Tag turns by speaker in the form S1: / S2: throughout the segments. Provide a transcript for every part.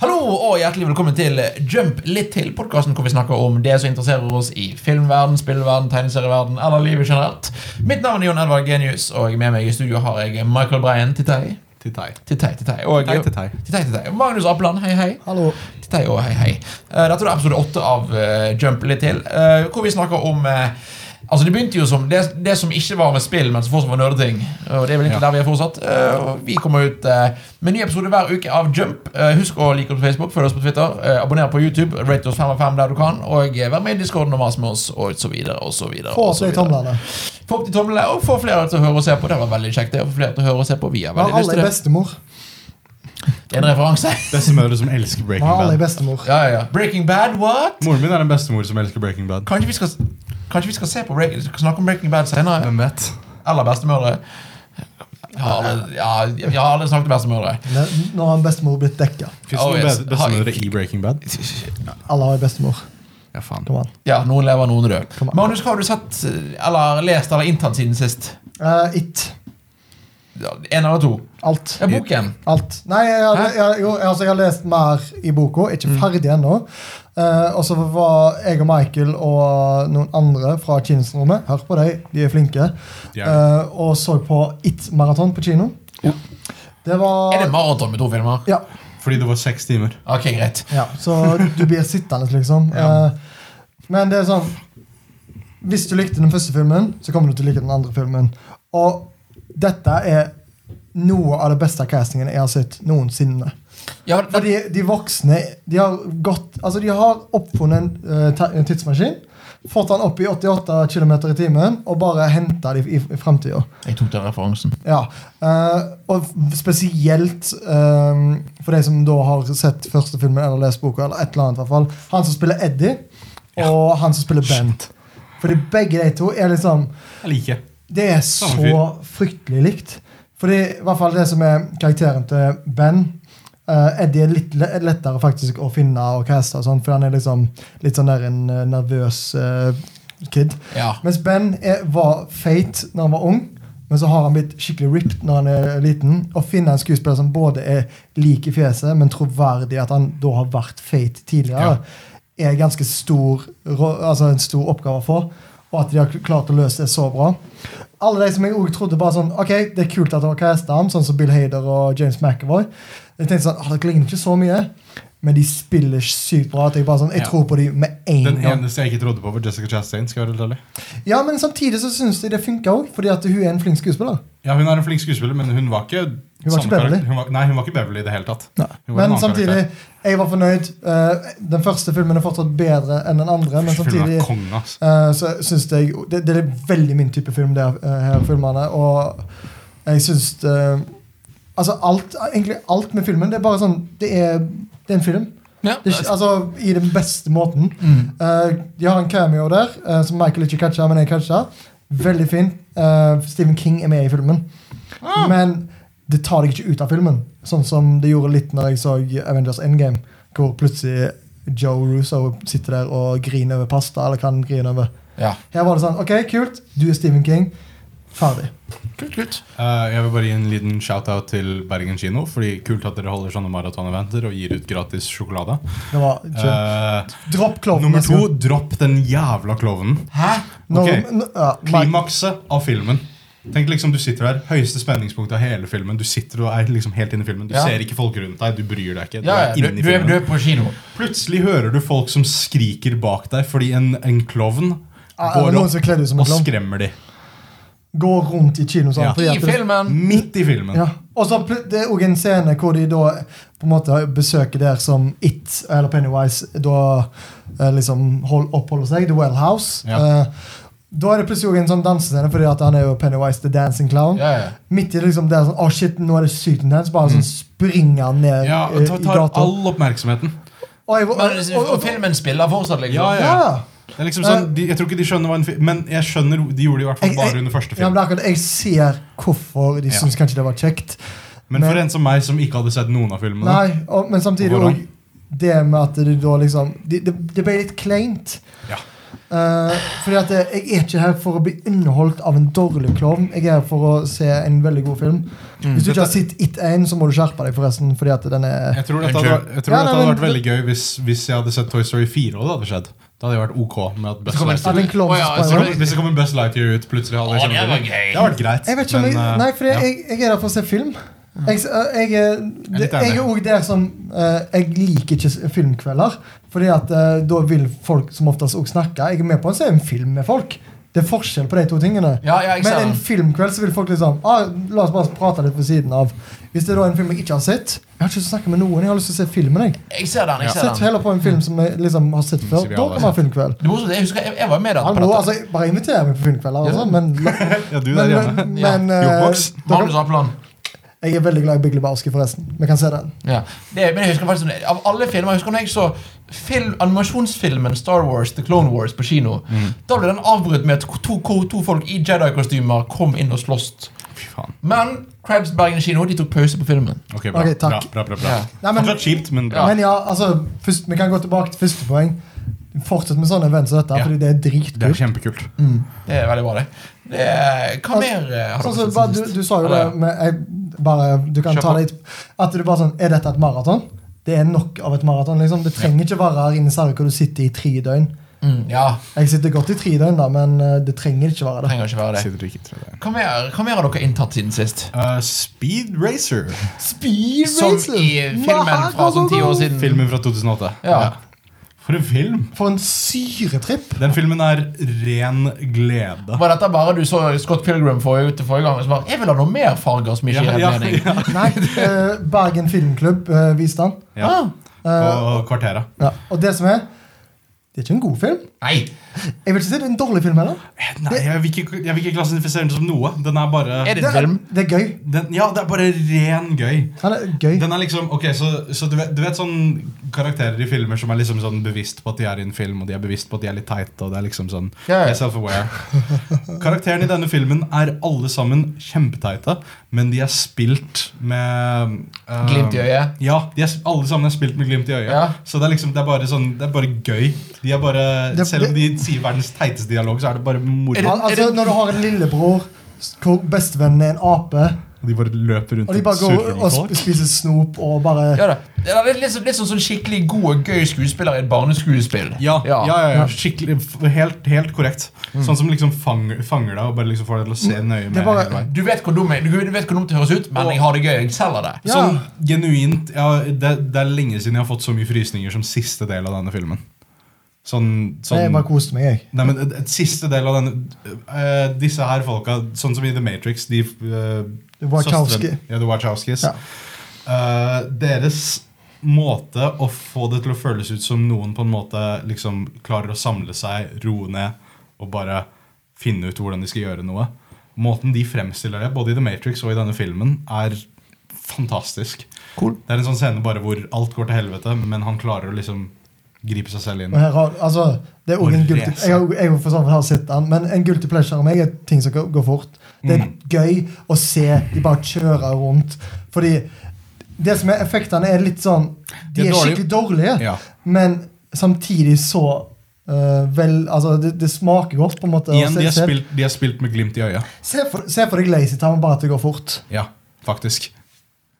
S1: Hallo og hjertelig velkommen til Jump litt til, podkasten hvor vi snakker om det som interesserer oss i filmverden, spillverden, tegneserieverden eller livet generelt. Mitt navn er Jon Edvard Genius, og med meg i studio har jeg Michael Bryan Titei.
S2: Tittai.
S1: Titei, titei. Og
S2: Titei, titei.
S1: Titei, titei. Magnus Apland, hei, hei.
S3: Hallo.
S1: Titei og hei, hei. Eh, Dette er episode åtte av eh, Jump litt til, eh, hvor vi snakker om eh, Altså Det begynte jo som det, det som ikke var med spill, men som fortsatt var nerdeting. Og det er vel egentlig
S2: Ja.
S1: der vi er fortsatt. Eh, og vi kommer ut eh, med ny episode hver uke av Jump. Eh, husk å like oss på Facebook, følg oss på Twitter, eh, abonner på YouTube, rate oss 5 av 5 der du kan, og eh, vær med i discorden og mas med oss, og så videre, og så videre. og
S3: Få oss
S1: så
S3: i
S1: videre.
S3: tomlene.
S1: Få opp de tomlene, og få flere til å høre og se på. Det var veldig kjekt. det, å få flere til å høre og se på. Vi har
S3: Vi har
S1: veldig lyst til
S3: alle i
S1: det.
S3: bestemor.
S1: Det er en referanse.
S2: Bestemødre som elsker
S3: Vi
S2: Breaking
S3: har alle i
S2: Bad.
S3: bestemor.
S1: Ja, ja, ja. Breaking Bad, what?
S2: Moren min er en bestemor som elsker Breaking Bad.
S1: Kanskje vi skal, kanskje vi skal se på Break, skal snakke om Breaking Bad senere?
S2: Hvem vet?
S1: Eller bestemødre? Jeg har aldri, ja, jeg har aldri snakket om bestemødre.
S3: Ne- Nå har en bestemor blitt dekka.
S2: Fins det
S1: Oh,
S2: noen
S1: yes.
S2: be- bestemødre i Breaking Bad?
S3: Alle har en bestemor.
S2: Ja, faen.
S3: Kom an.
S1: Ja, Noen lever, noen er døde.
S3: Kom an.
S1: Magnus, hva har du sett eller lest eller inntatt siden sist?
S3: Eh, it.
S1: Ja, En eller to?
S3: Alt.
S1: Ja, boken.
S3: Alt. Nei, jeg har, jeg, jo, altså, jeg har lest mer i boka. Ikke
S1: Mm.
S3: ferdig ennå. Eh, og så var jeg og Michael og noen andre fra kinosrommet Hør på dem, de er flinke.
S2: Ja.
S3: eh, og så på It-maraton på kino. Det
S1: Er det
S3: var
S1: maraton med to filmer?
S3: Ja.
S2: Fordi det var seks timer.
S1: Ok, greit.
S3: Ja, så du blir sittende, liksom.
S1: Ja.
S3: Eh, Men det er sånn Hvis du likte den første filmen, så kommer du til å like den andre filmen. Og dette er noe av det beste castingen jeg har sett noensinne.
S1: Ja, det,
S3: Fordi de voksne De har gått Altså, de har oppfunnet en, eh, te- en tidsmaskin. Fått den opp i 88 km i timen og bare henta dem i, i framtida.
S1: jeg tok den referansen.
S3: Ja. eh, og f- spesielt eh, for de som da har sett første filmen eller lest boka, eller et eller annet i hvert fall. Han som spiller Eddie, og han som spiller Bent. Fordi begge de to er liksom
S2: Jeg liker.
S3: Det er
S2: Samme
S3: så fryktelig likt. Fordi i hvert fall det som er karakteren til Ben eh, Eddie er litt le- lettere faktisk å finne og caste, og sånn, for han er liksom litt sånn der en eh, nervøs eh, kid.
S1: Ja.
S3: Mens Ben er, var feit når han var ung, men så har han blitt skikkelig ripped når han er liten. Å finne en skuespiller som både er lik i fjeset, men troverdig at han da har vært feit tidligere, er ganske stor, rå- altså en stor oppgave å få. Og at de har klart å løse det så bra. Alle de som jeg også trodde bare sånn Ok, det er kult at de har casta ham, sånn som Bill Hader og James McAvoy. Jeg tenkte sånn, «Å, Dere ligner ikke så mye, men de spiller sykt bra. At jeg bare sånn, jeg
S2: Ja.
S3: tror på dem med en
S2: Den
S3: gang.
S2: eneste jeg ikke trodde på, var Jessica Chastain. skal jeg være helt ærlig.
S3: Ja, men samtidig så syns de det funka òg, fordi at hun er en flink skuespiller.
S2: Ja, Hun er en flink skuespiller, men hun var ikke
S3: ikke
S2: samme
S3: Beverly.
S2: karakter. Hun var, nei, hun var ikke Beverly i det hele tatt. Hun var en
S3: Men
S2: annen
S3: samtidig, jeg var fornøyd. Eh, den første filmen er fortsatt bedre enn den andre,
S2: Filmen
S3: men samtidig
S2: er altså. kong, ass.
S3: eh, så syns jeg det, det er veldig min type film, det eh, her filmene, og jeg syns det Altså alt, egentlig alt med filmen. Det er bare sånn Det er, det er en film.
S1: Ja.
S3: Det er, ikke- altså, I den beste måten.
S1: Mm.
S3: Eh, de har en cameo der eh, som Michael ikke catcha, men jeg catcha. Veldig fin. Eh, Stephen King er med i filmen. Men det tar deg ikke ut av filmen, sånn som det gjorde litt når jeg så Avengers Endgame, hvor plutselig Joe Russo sitter der og griner over pasta, eller kan grine over.
S1: ja.
S3: Her var det sånn OK, kult. Du er Stephen King. Ferdig.
S1: Kult, kult.
S2: Eh, jeg vil bare gi en liten shout-out til Bergen kino. Fordi Kult at dere holder sånne maratoneventer og gir ut gratis sjokolade.
S3: Det var ikke
S2: Eh,
S3: Dropp klovnen.
S2: nummer
S3: neste
S2: to
S3: gang.
S2: dropp den jævla klovnen.
S1: Hæ?
S3: Når-
S2: ok.
S3: n- ja, Mike-
S2: Klimakset av filmen. Tenk liksom Du sitter der, høyeste spenningspunkt av hele filmen. Du sitter og er liksom helt inne i filmen Du
S1: Ja.
S2: ser ikke folk rundt deg, du bryr deg ikke. Du
S1: Ja, ja.
S2: er
S1: Du,
S2: inne i
S1: du, er, du
S2: filmen
S1: er på kino.
S2: Plutselig hører du folk som skriker bak deg fordi en, en klovn
S3: Ja, Ah, det var
S2: går
S3: noen som
S2: opp
S3: kledde ut som en
S2: og
S3: klovn.
S2: skremmer de.
S3: Gå rundt i kino sånn.
S2: Ja.
S3: fordi
S1: I
S3: at det-
S1: filmen.
S2: Midt i filmen.
S3: Ja. Og så pl- det er òg en scene hvor de da på en måte besøker der som It eller Pennywise da eh, liksom hold, oppholder seg. The Well House.
S2: Ja.
S3: Eh, da er det plutselig også en sånn dansescene, fordi at han er jo Pennywise the Dancing Clown.
S1: Ja, ja.
S3: Midt i liksom der sånn, oh shit, nå er det sykt intenst. Bare sånn springer han ned
S2: Mm. Ja,
S3: eh,
S2: ta-
S3: i
S2: tar
S3: gata.
S2: all oppmerksomheten.
S3: Og jeg- og-
S1: Men,
S3: og-
S1: og
S3: og-
S1: filmen spiller fortsatt, liksom.
S2: Ja,
S3: ja, ja.
S2: Det er liksom sånn, de, jeg tror ikke de skjønner hva en film Men jeg skjønner, de gjorde det i hvert fall
S3: Eh. Jeg- jeg-
S2: bare under første
S3: Ja,
S2: film.
S3: men akkurat, jeg ser hvorfor de
S2: Ja.
S3: syns kanskje det var kjekt.
S2: Men for
S3: men-
S2: en som meg, som ikke hadde sett noen av filmene
S3: Nei, og, men samtidig
S2: Hvordan?
S3: òg det med at det da liksom Det, det, det ble litt kleint.
S2: Ja.
S3: Eh, fordi at eh, Jeg er ikke her for å bli underholdt av en dårlig klovn. Jeg er her for å se en veldig god film.
S2: Mm.
S3: Hvis du ikke har sett It 1, så må du skjerpe deg, forresten. Fordi at den er
S2: Jeg tror dette hadde,
S1: Unnskyld.
S2: vært- jeg tror
S3: Ja,
S2: dette
S3: nei,
S2: hadde
S3: men
S2: vært veldig gøy hvis, hvis jeg hadde sett Toy Story 4 og det hadde skjedd. Da hadde jeg vært ok med at Buzz
S1: Så kommer det
S2: Lightyear
S3: At en klovn
S1: Å, ja,
S3: som
S1: så
S3: sprang
S1: kommer-
S2: Hvis det kommer en Buzz Lightyear ut plutselig hadde jeg
S1: Å,
S2: kjent
S1: det var
S2: det.
S1: gøy.
S2: Det hadde vært greit.
S3: Jeg vet ikke om jeg,
S2: men, eh,
S3: Nei, fordi
S2: ja.
S3: jeg, jeg er der for å se film. Jeg, s- øh, jeg, er-
S2: er litt
S3: det- jeg er
S2: enig.
S3: òg der som øh, Jeg liker ikke s- filmkvelder. Fordi at øh, da vil folk som oftest òg snakke. Jeg er med på å se en film med folk. Det er forskjell på de to tingene.
S1: Ja, ja, jeg ser
S3: Men en
S1: den.
S3: filmkveld så vil folk liksom ah, La oss bare prate litt ved siden av. Hvis det er da en film jeg ikke har sett Jeg har ikke lyst til å snakke med noen. Jeg har lyst til å se filmen. jeg
S1: Jeg ser den. jeg ser
S3: Sett
S1: den
S3: heller på en film som jeg liksom har sett før.
S2: Som vi
S3: Da
S2: alle
S3: kan
S2: har
S3: man ha filmkveld.
S1: Det er morsomt, jeg husker jeg, jeg var med der på
S3: Hallo,
S1: dette.
S3: altså, jeg bare inviterer meg på filmkvelder, altså. Men,
S2: Ja, du der
S3: men,
S2: hjemme.
S3: men,
S1: Ja.
S3: men øh,
S2: Jukebox.
S3: dere-
S1: Magnus Apeland.
S3: jeg er veldig glad i Big Lebowski, forresten. Vi kan se den.
S1: Ja. Det, men jeg husker faktisk sånn, Av alle filmer jeg husker når jeg så film, animasjonsfilmen Star Wars The Clone Wars på kino.
S3: Mm.
S1: Da ble den avbrutt med at to, to, to folk i Jedi-kostymer kom inn og sloss.
S2: Fy faen.
S1: Men Crabs Bergen kino de tok pause på filmen.
S2: Ok, bra.
S3: Ok,
S2: bra,
S3: takk.
S2: bra, bra, bra.
S1: Ja.
S3: Nei, men-
S2: Fortsatt kjipt, men bra.
S3: Men ja, altså, først, vi kan gå tilbake til første poeng. Fortsett med sånne events som dette,
S2: Ja.
S3: fordi det er
S2: Det er
S3: dritkult.
S2: kjempekult.
S3: Mm.
S1: Det er veldig bra, det. det er- hva
S3: Altså,
S1: mer eh, har dere
S3: Sånn som
S1: sett
S3: bare-
S1: siden
S3: du,
S1: sist?
S3: du sa jo det
S1: Eller-
S3: med jeg, bare, Du kan
S1: Kjør
S3: ta
S1: på.
S3: det etterpå. At du bare sånn Er dette et maraton? Det er nok av et maraton. liksom Det trenger ikke være her inne i Sarek hvor du sitter i tre døgn.
S1: Mm, ja,
S3: Jeg sitter godt i tre døgn, da, men eh, det trenger ikke være det.
S1: trenger ikke være det.
S2: Sitter ikke i tredje.
S1: Hva mer, hva mer har dere inntatt siden sist?
S2: Eh, Speed Racer.
S3: Speed
S1: Som Sånn i filmen fra sånn ti år siden.
S2: Filmen fra 2008.
S1: Ja.
S2: For en film!
S3: For en syretripp!
S2: Den filmen er ren glede.
S1: Var dette bare du så Scott Pilgrim forrige, til forrige gang? Og så bare, jeg vil ha noe mer farger som ikke
S2: Ja,
S1: gir
S2: ja,
S1: mening.
S2: ja.
S3: Nei, eh, Bergen Filmklubb eh, viste den.
S2: Ja.
S1: Ah,
S2: Og Kvarteret.
S3: Ja. Og det som er Det er ikke en god film.
S1: nei!
S3: Jeg vil ikke si det er en dårlig film heller.
S2: Eh, Nei, jeg vil, ikke, jeg vil ikke klassifisere den som noe. Den er bare
S1: Er det
S3: Det
S1: en
S3: er,
S1: film?
S3: det er gøy.
S2: den, Ja, det er bare ren gøy.
S3: Han er gøy.
S2: Den er liksom, ok, Så, så du, vet, du vet sånn karakterer i filmer som er liksom sånn bevisst på at de er i en film, og de er bevisst på at de er litt teite, og det er liksom sånn
S1: Ja, ja.
S2: de er self-aware. Karakterene i denne filmen er alle sammen kjempeteite, men de er spilt med eh,
S1: Glimt i øyet?
S2: Ja, de er, alle sammen er spilt med glimt i øyet.
S1: Ja.
S2: Så det er liksom, det er bare sånn, det er bare gøy. De er bare,
S3: Det-
S2: Selv om de sier verdens teiteste dialog, så er det bare moro.
S3: Al altså,
S1: er det-
S3: Når du har en lillebror s- hvor bestevennen er en ape,
S2: Og de bare løper rundt
S3: og de bare går
S2: surfer
S3: og
S2: med folk.
S3: sp spiser snop og bare
S1: Ja da. Det er litt, litt, sånn- litt sånn, sånn skikkelig god og gøy skuespiller i et barneskuespill.
S2: Ja, ja, ja,
S3: Ja. Mm.
S2: skikkelig, f- helt, helt korrekt. Sånn som liksom fanger, fanger deg og bare liksom får deg til å se nøye med.
S3: Det er bare-
S2: hele veien.
S1: Du vet hvor dum jeg- du vet hvor dumt det høres ut, men jeg har det gøy. Jeg selger det.
S3: Ja.
S2: Sånn genuint ja, det, det er lenge siden jeg har fått så mye frysninger som siste del av denne filmen. Sånn,
S3: Nei, Jeg
S2: sånn
S3: bare koste meg, jeg.
S2: Nei, men et, et siste del av denne eh, Disse her folka, sånn som i The Matrix De eh,
S3: Wachowski.
S2: søstrene- Ja, The Wachowskis.
S3: Ja.
S2: Eh, deres måte å få det til å føles ut som noen på en måte liksom klarer å samle seg, roe ned og bare finne ut hvordan de skal gjøre noe. Måten de fremstiller det, både i The Matrix og i denne filmen, er fantastisk.
S1: Cool.
S2: Det er en sånn scene bare hvor alt går til helvete, men han klarer å liksom gripe seg selv inn.
S3: Men her har, altså, det er også en
S2: Og
S3: guilty,
S2: racer.
S3: jeg, har- jeg har for sånn, har sett den, men en guilty pleasure av meg er ting som går går fort. Det er
S1: Mm.
S3: gøy å se de bare kjøre rundt. Fordi det som er effektene, er litt sånn
S2: De er
S3: De er
S2: dårlige.
S3: skikkelig dårlige,
S2: Ja.
S3: men samtidig så eh, vel Altså, det, det smaker godt, på en måte. å
S2: Igjen,
S3: se-
S2: de er,
S3: se-
S2: spilt, de er spilt med glimt i øya.
S3: Se, for, se for deg Lazy Town, bare at det går fort.
S2: Ja, faktisk.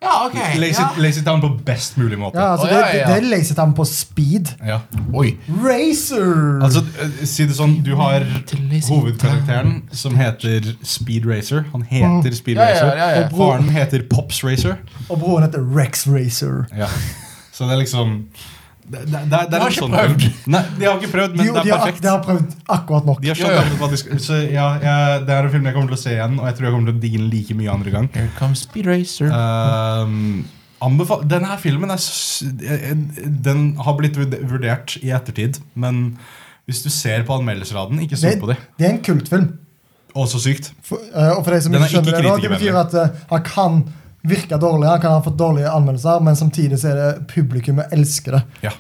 S1: Ja, ok.
S2: Lazy,
S1: Ja.
S2: Lazy Town på best mulig måte.
S3: Ja, altså,
S1: Å,
S3: det,
S1: ja, ja, ja.
S3: det er Lazy Town på speed.
S2: Ja.
S1: Oi.
S3: Racer!
S2: Altså, eh, si det sånn, du har hovedkarakteren som heter Speed Racer. Han
S3: Mm.
S2: heter Speed
S1: Ja, ja,
S2: Racer.
S1: ja, ja.
S2: Og faren heter Pops Racer.
S3: og broren heter Rex Racer.
S2: Ja. Så det er liksom Det, det, det, det
S1: har
S2: er en
S1: ikke
S2: sånn
S1: prøvd.
S2: film. Nei, de har ikke prøvd,
S3: De,
S2: men
S3: de,
S2: det er
S3: har, ak-
S2: perfekt.
S3: de har prøvd akkurat nok.
S2: De har skjønt
S1: Ja, ja.
S2: akkurat hva de skal Så ja, jeg, Det er en film jeg kommer til å se igjen, og jeg tror jeg kommer til å digge den like mye andre gang.
S1: Here comes Speed Racer.
S2: Ehm, anbefal Denne her filmen er, s- eh, eh, Den har blitt vurd- vurdert i ettertid, men hvis du ser på anmeldelsesraden, ikke stol
S3: det,
S2: på dem.
S3: det er en kultfilm.
S2: Også sykt.
S3: For, eh, og for de som
S2: Den
S3: ikke
S2: er
S3: skjønner
S2: ikke
S3: det, nå, det betyr at eh, han kan virke dårlig, han kan ha fått dårlige anmeldelser, men samtidig så er det publikummet elsker det.
S2: Ja.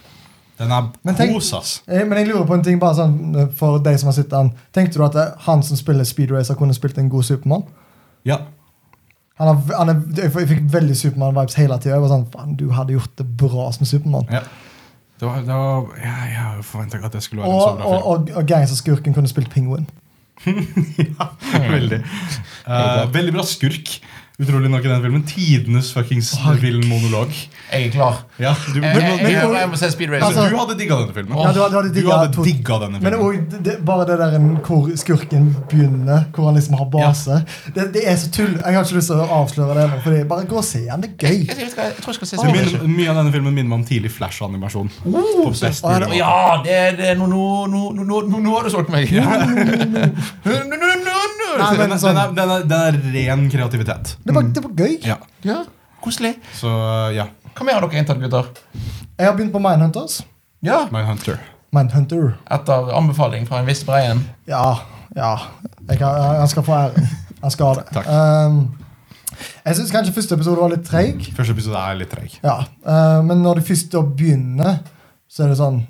S2: Den er
S3: Men tenk-
S2: kos, ass.
S3: Eh, Men jeg lurer på en ting bare sånn eh, for de som har sett den. Tenkte du at eh, han som spiller Speed Racer, kunne spilt en god Supermann?
S2: Ja.
S3: Han har, han er, jeg fikk veldig Supermann-vibes hele tida. Sånn, "Faen, du hadde gjort det bra som Supermann.
S2: ja. Det var, det var, ja, jeg forventa ikke at det skulle være en sånn så
S3: Og,
S2: bra
S3: og,
S2: film.
S3: og, og gangsterskurken kunne spilt pingvin.
S2: veldig. Eh, veldig bra skurk. Utrolig nok i den filmen. Tidenes fuckings vill monolog.
S1: Jeg er klar.
S2: Ja, du,
S1: Jeg,
S2: men-
S1: jeg,
S2: men-
S1: jeg, jeg, jeg må se Speed Racer.
S2: altså,
S3: altså-
S2: du hadde digga denne filmen.
S3: Ja, du hadde- du hadde digga to-
S2: digga denne
S3: Men
S2: filmen.
S3: òg bare det der en- hvor skurken begynner, hvor han liksom har base. Det, det er så tull. Jeg har ikke lyst til å avsløre det. nå, Fordi bare gå og se han, det er
S1: Jeg,
S3: gøy.
S1: jeg, jeg, skal, jeg tror jeg skal se
S2: Det
S1: Speed
S2: minner-
S1: Racer.
S2: mye av denne filmen minner meg om tidlig Flash-animasjon. På best
S3: Å, Oh, ja,
S2: mulig måte.
S1: Ja, det, det, nå, nå, nå, nå, nå, nå- nå har du solgt meg. Nå, nå, nå, nå, nå.
S3: Nei, men
S2: Den er-
S3: sånn-
S2: den er- den er- den er ren kreativitet.
S3: Det var, det var gøy.
S2: Mm. Ja.
S1: Ja, koselig.
S2: Så ja.
S1: Hva mer har dere inntatt, gutter?
S3: Jeg har begynt på Mindhunters.
S1: Ja,
S2: Mindhunter.
S3: Mindhunter.
S1: Etter anbefaling fra en viss Breien.
S3: Ja. ja. Jeg kan, han skal få æren. Han skal ha det.
S2: Takk.
S3: Ehm, jeg syns kanskje første episode var litt treig.
S2: Første episode er litt treig.
S3: Ja, eh, men når det først da begynner, så er det sånn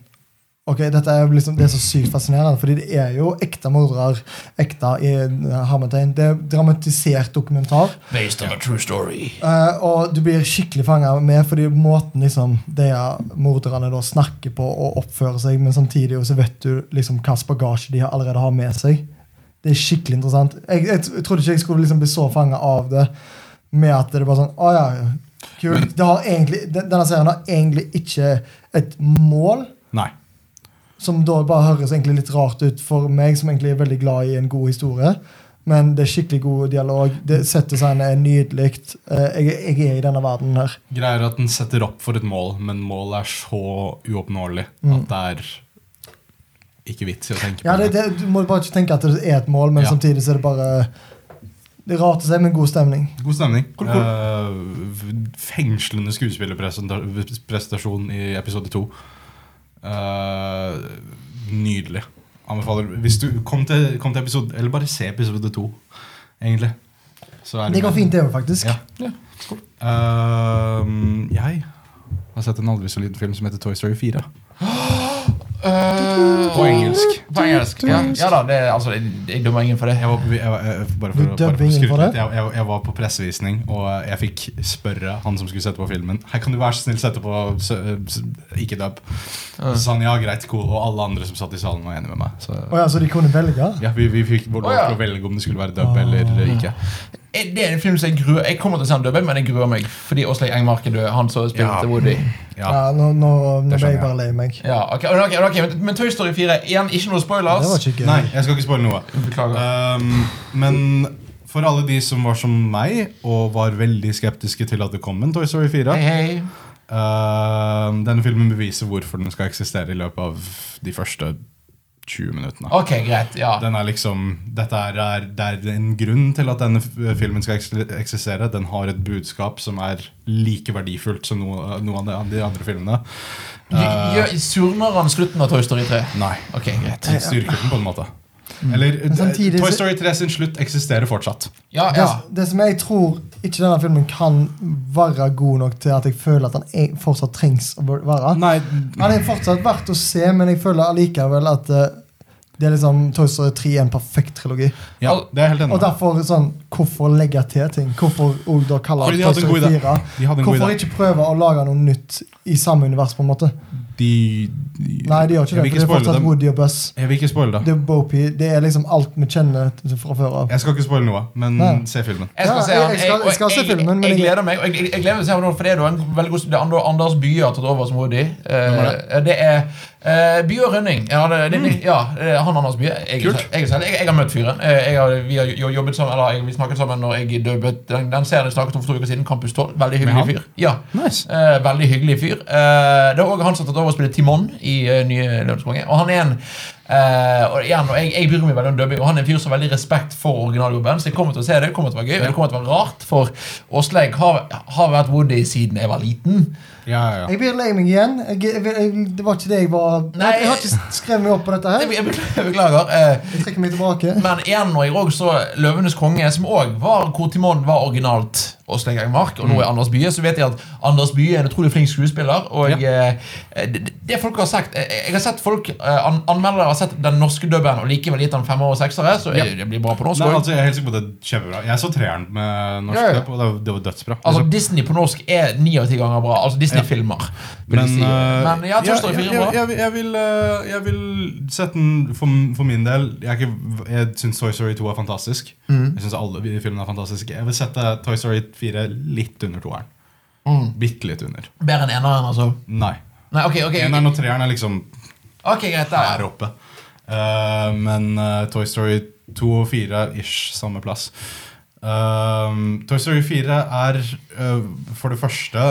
S3: Ok, dette er jo liksom, Det er så sykt fascinerende, fordi det er jo ekte mordere. Ekte i eh, hermetegn. Det er dramatisert dokumentar.
S1: Based on a true story.
S3: eh, og du blir skikkelig fanga med fordi måten liksom de her morderne da snakker på og oppfører seg, men samtidig jo så vet du liksom hva slags bagasje de allerede har med seg. Det er skikkelig interessant. Jeg, jeg, t- trodde ikke jeg skulle liksom bli så fanga av det med at det er bare sånn Å ja, ja, kult. Det har egentlig, den- denne serien har egentlig ikke et mål,
S2: Nei.
S3: som da bare høres egentlig litt rart ut for meg, som egentlig er veldig glad i en god historie. Men det er skikkelig god dialog. Det Setdesignet er nydelig. Eh, Jeg, jeg er i denne verdenen her.
S2: Greier at den setter opp for et mål, men målet er så uoppnåelig at det er ikke vits i å tenke på
S3: Mm. Ja, det, det, du må bare ikke tenke at det er et mål, men
S2: Ja.
S3: samtidig så er det bare Det er rart å se, men god stemning.
S2: God stemning.
S1: Cool, cool.
S2: Eh, fengslende skuespillerpresentasjon i episode to. Eh, nydelig. Anbefaler Hvis du kom til, kom til episode Eller bare se episode to, egentlig. Så er
S3: Det går
S2: med.
S3: fint, det òg, faktisk.
S2: Ja. Eh, jeg har sett en aldri så liten film som heter Toy Story 4.
S3: Eh,
S2: På engelsk.
S1: På engelsk, ja. ja da, det, er- altså, jeg, jeg dømmer ingen for det.
S2: Jeg var på, jeg, var- jeg, bare
S3: Du
S2: for, bare
S3: dubber
S2: for å
S3: ingen
S2: skryte
S3: for det?
S2: litt, jeg, jeg, jeg var på pressevisning, og jeg fikk spørre han som skulle sette på filmen Hei, kan du være så snill sette på sø- s- Ikke dub. Så sa han ja, greit, cool. Og alle andre som satt i salen, var enige med meg. Så
S3: Å ja, så de kunne velge?
S2: ja, vi, vi fikk vår lov
S1: Å, ja.
S2: til å velge om det skulle være dub
S3: Ah.
S2: eller ikke.
S1: Eh, Det er en film som jeg gruer Jeg kommer til å se den dubben, men jeg gruer meg. Fordi Åsleik Engmark er død. Han som spilte
S2: Ja.
S1: Woody.
S2: Ja.
S3: Ja, nå, nå, nå
S2: Det
S3: ble jeg
S2: skjønner
S3: bare lei meg.
S1: Ja, ok, ok, ok, men, men Toy Story 4, igjen, ikke noe
S3: Det var
S1: spoilers.
S3: ikke gøy.
S2: Nei, jeg skal ikke spoile noe.
S1: Beklager.
S2: Um, men for alle de som var som meg, og var veldig skeptiske til at det kom en Toy Story 4
S1: Hei, hei.
S2: Ehm, denne filmen beviser hvorfor den skal eksistere i løpet av de første 20 minuttene.
S1: Ok, greit. Ja.
S2: Den er liksom, dette er, er, det er en grunn til at denne f- filmen skal eks- eksistere. Den har et budskap som er like verdifullt som noe, noe av de- de andre filmene. eh,
S1: Gj- gjør- Surner han slutten av Toy Story 3?
S2: Nei.
S1: Ok, greit.
S2: Den styrker den på en måte. Eller
S3: Mm.
S2: eh,
S3: samtidig
S2: Toy
S3: så-
S2: Story 3 sin slutt eksisterer fortsatt.
S1: Ja,
S3: Det,
S1: ja.
S3: Altså, det som jeg tror ikke denne filmen kan være god nok til at jeg føler at den er, fortsatt trengs å være.
S2: Nei,
S3: Han er fortsatt verdt å se, men jeg føler allikevel at eh, det er liksom Toy Story 3 er en perfekt trilogi.
S2: ja, det er jeg helt enig
S3: Og
S2: med.
S3: derfor sånn, hvorfor legge til ting? Hvorfor og da kalle
S2: Fordi
S3: det
S2: de
S3: Toy
S2: hadde en god
S3: Story
S2: idé.
S3: 4?
S2: De hadde en god
S3: Hvorfor
S2: idé.
S3: ikke prøve å lage noe nytt i samme univers? på en måte?
S2: De, de,
S3: Nei, de gjør ikke
S2: jeg vil
S3: det. for Det er
S2: spoile
S3: fortsatt
S2: dem.
S3: Woody og Buzz.
S2: Jeg vil ikke spoile det.
S3: Det er Bo-Pee. Det er liksom alt vi kjenner til- fra før av.
S2: Jeg skal ikke spoile noe, men
S3: Nei.
S2: se filmen.
S1: Jeg skal
S3: Ja,
S1: se
S3: jeg-
S1: han.
S3: jeg skal- jeg skal se filmen, men
S1: jeg,
S3: jeg-
S1: gleder meg. Og jeg, jeg, jeg gleder meg til å se han, for Det er jo en veldig god det er Ander- Anders Bye har tatt over som Woody. Eh,
S2: Hvem er
S1: det er eh, Bye og Rønning. Ja, det, det, ja, det er han Anders Bye. Jeg,
S2: Mm. Kult.
S1: Jeg, jeg, jeg, jeg har møtt fyren. Eh, Jeg har, vi har jo jobbet sammen, eller jeg, vi snakket sammen når jeg døbet den, den serien jeg snakket om for to uker siden. Campus 12. Veldig
S2: Med han?
S1: hyggelig fyr. Ja.
S2: Nice.
S1: Eh, veldig hyggelig fyr. Eh, det er òg han som har tatt over og spiller Timon i eh, nye Lønnskonge. Og han er en eh, og igjen, og jeg, jeg bryr meg veldig om dubbing, og han er en fyr som har veldig respekt for originaljobben. Så jeg kommer til å se det. Det kommer til å være gøy, og det kommer til å være rart, for Åsleik har, har vært Woody siden jeg var liten.
S2: Ja, ja, ja.
S3: Jeg blir lei meg igjen. Jeg, jeg, jeg, det var ikke det jeg var
S1: Nei.
S3: Jeg har ikke skrevet meg opp på dette
S1: Jeg,
S3: her.
S1: jeg beklager. Jeg beklager. Eh,
S3: Jeg trekker meg tilbake.
S1: men igjen, når jeg òg så Løvenes konge, som òg var hvor Timon var originalt og Sleggereid Mark, og nå
S2: Mm.
S1: er Anders Bye, så vet jeg at Anders Bye er en utrolig flink skuespiller. Og eh, det, det folk har sagt eh, Jeg har sett folk eh, an, anmeldere har sett den norske dubben og likevel gitt den femmer og seksere, så
S2: Ja.
S1: eh, det blir bra på norsk
S2: Nei,
S1: også.
S2: altså, jeg er helt sikker på at det er kjempebra. Jeg så treeren med norsk
S1: Ja, ja, ja.
S2: dub, og det var- det var dødsbra.
S1: Altså,
S2: Liksom.
S1: Disney på norsk er ni av ti ganger bra. Altså Disney-filmer. vil jeg si.
S2: eh,
S1: Men ja, Toy Story 4 er
S2: jeg,
S1: bra.
S2: jeg, jeg, vil, eh, jeg vil sette den for, for min del. Jeg, er ikke- jeg syns Toy Story 2 er fantastisk.
S1: Mm.
S2: Jeg synes alle de filmene er fantastiske. Jeg vil sette Toy Story 4 litt under toeren.
S1: Mm.
S2: Bitte litt under.
S1: Bedre enn eneren, altså.
S2: Nei.
S1: Nei, ok, ok, ok,
S2: Eneren og treeren er liksom
S1: ok, greit der.
S2: her oppe. Eh, men eh, Toy Story 2 og 4 ish samme plass. Ehm, Toy Story 4 er eh, for det første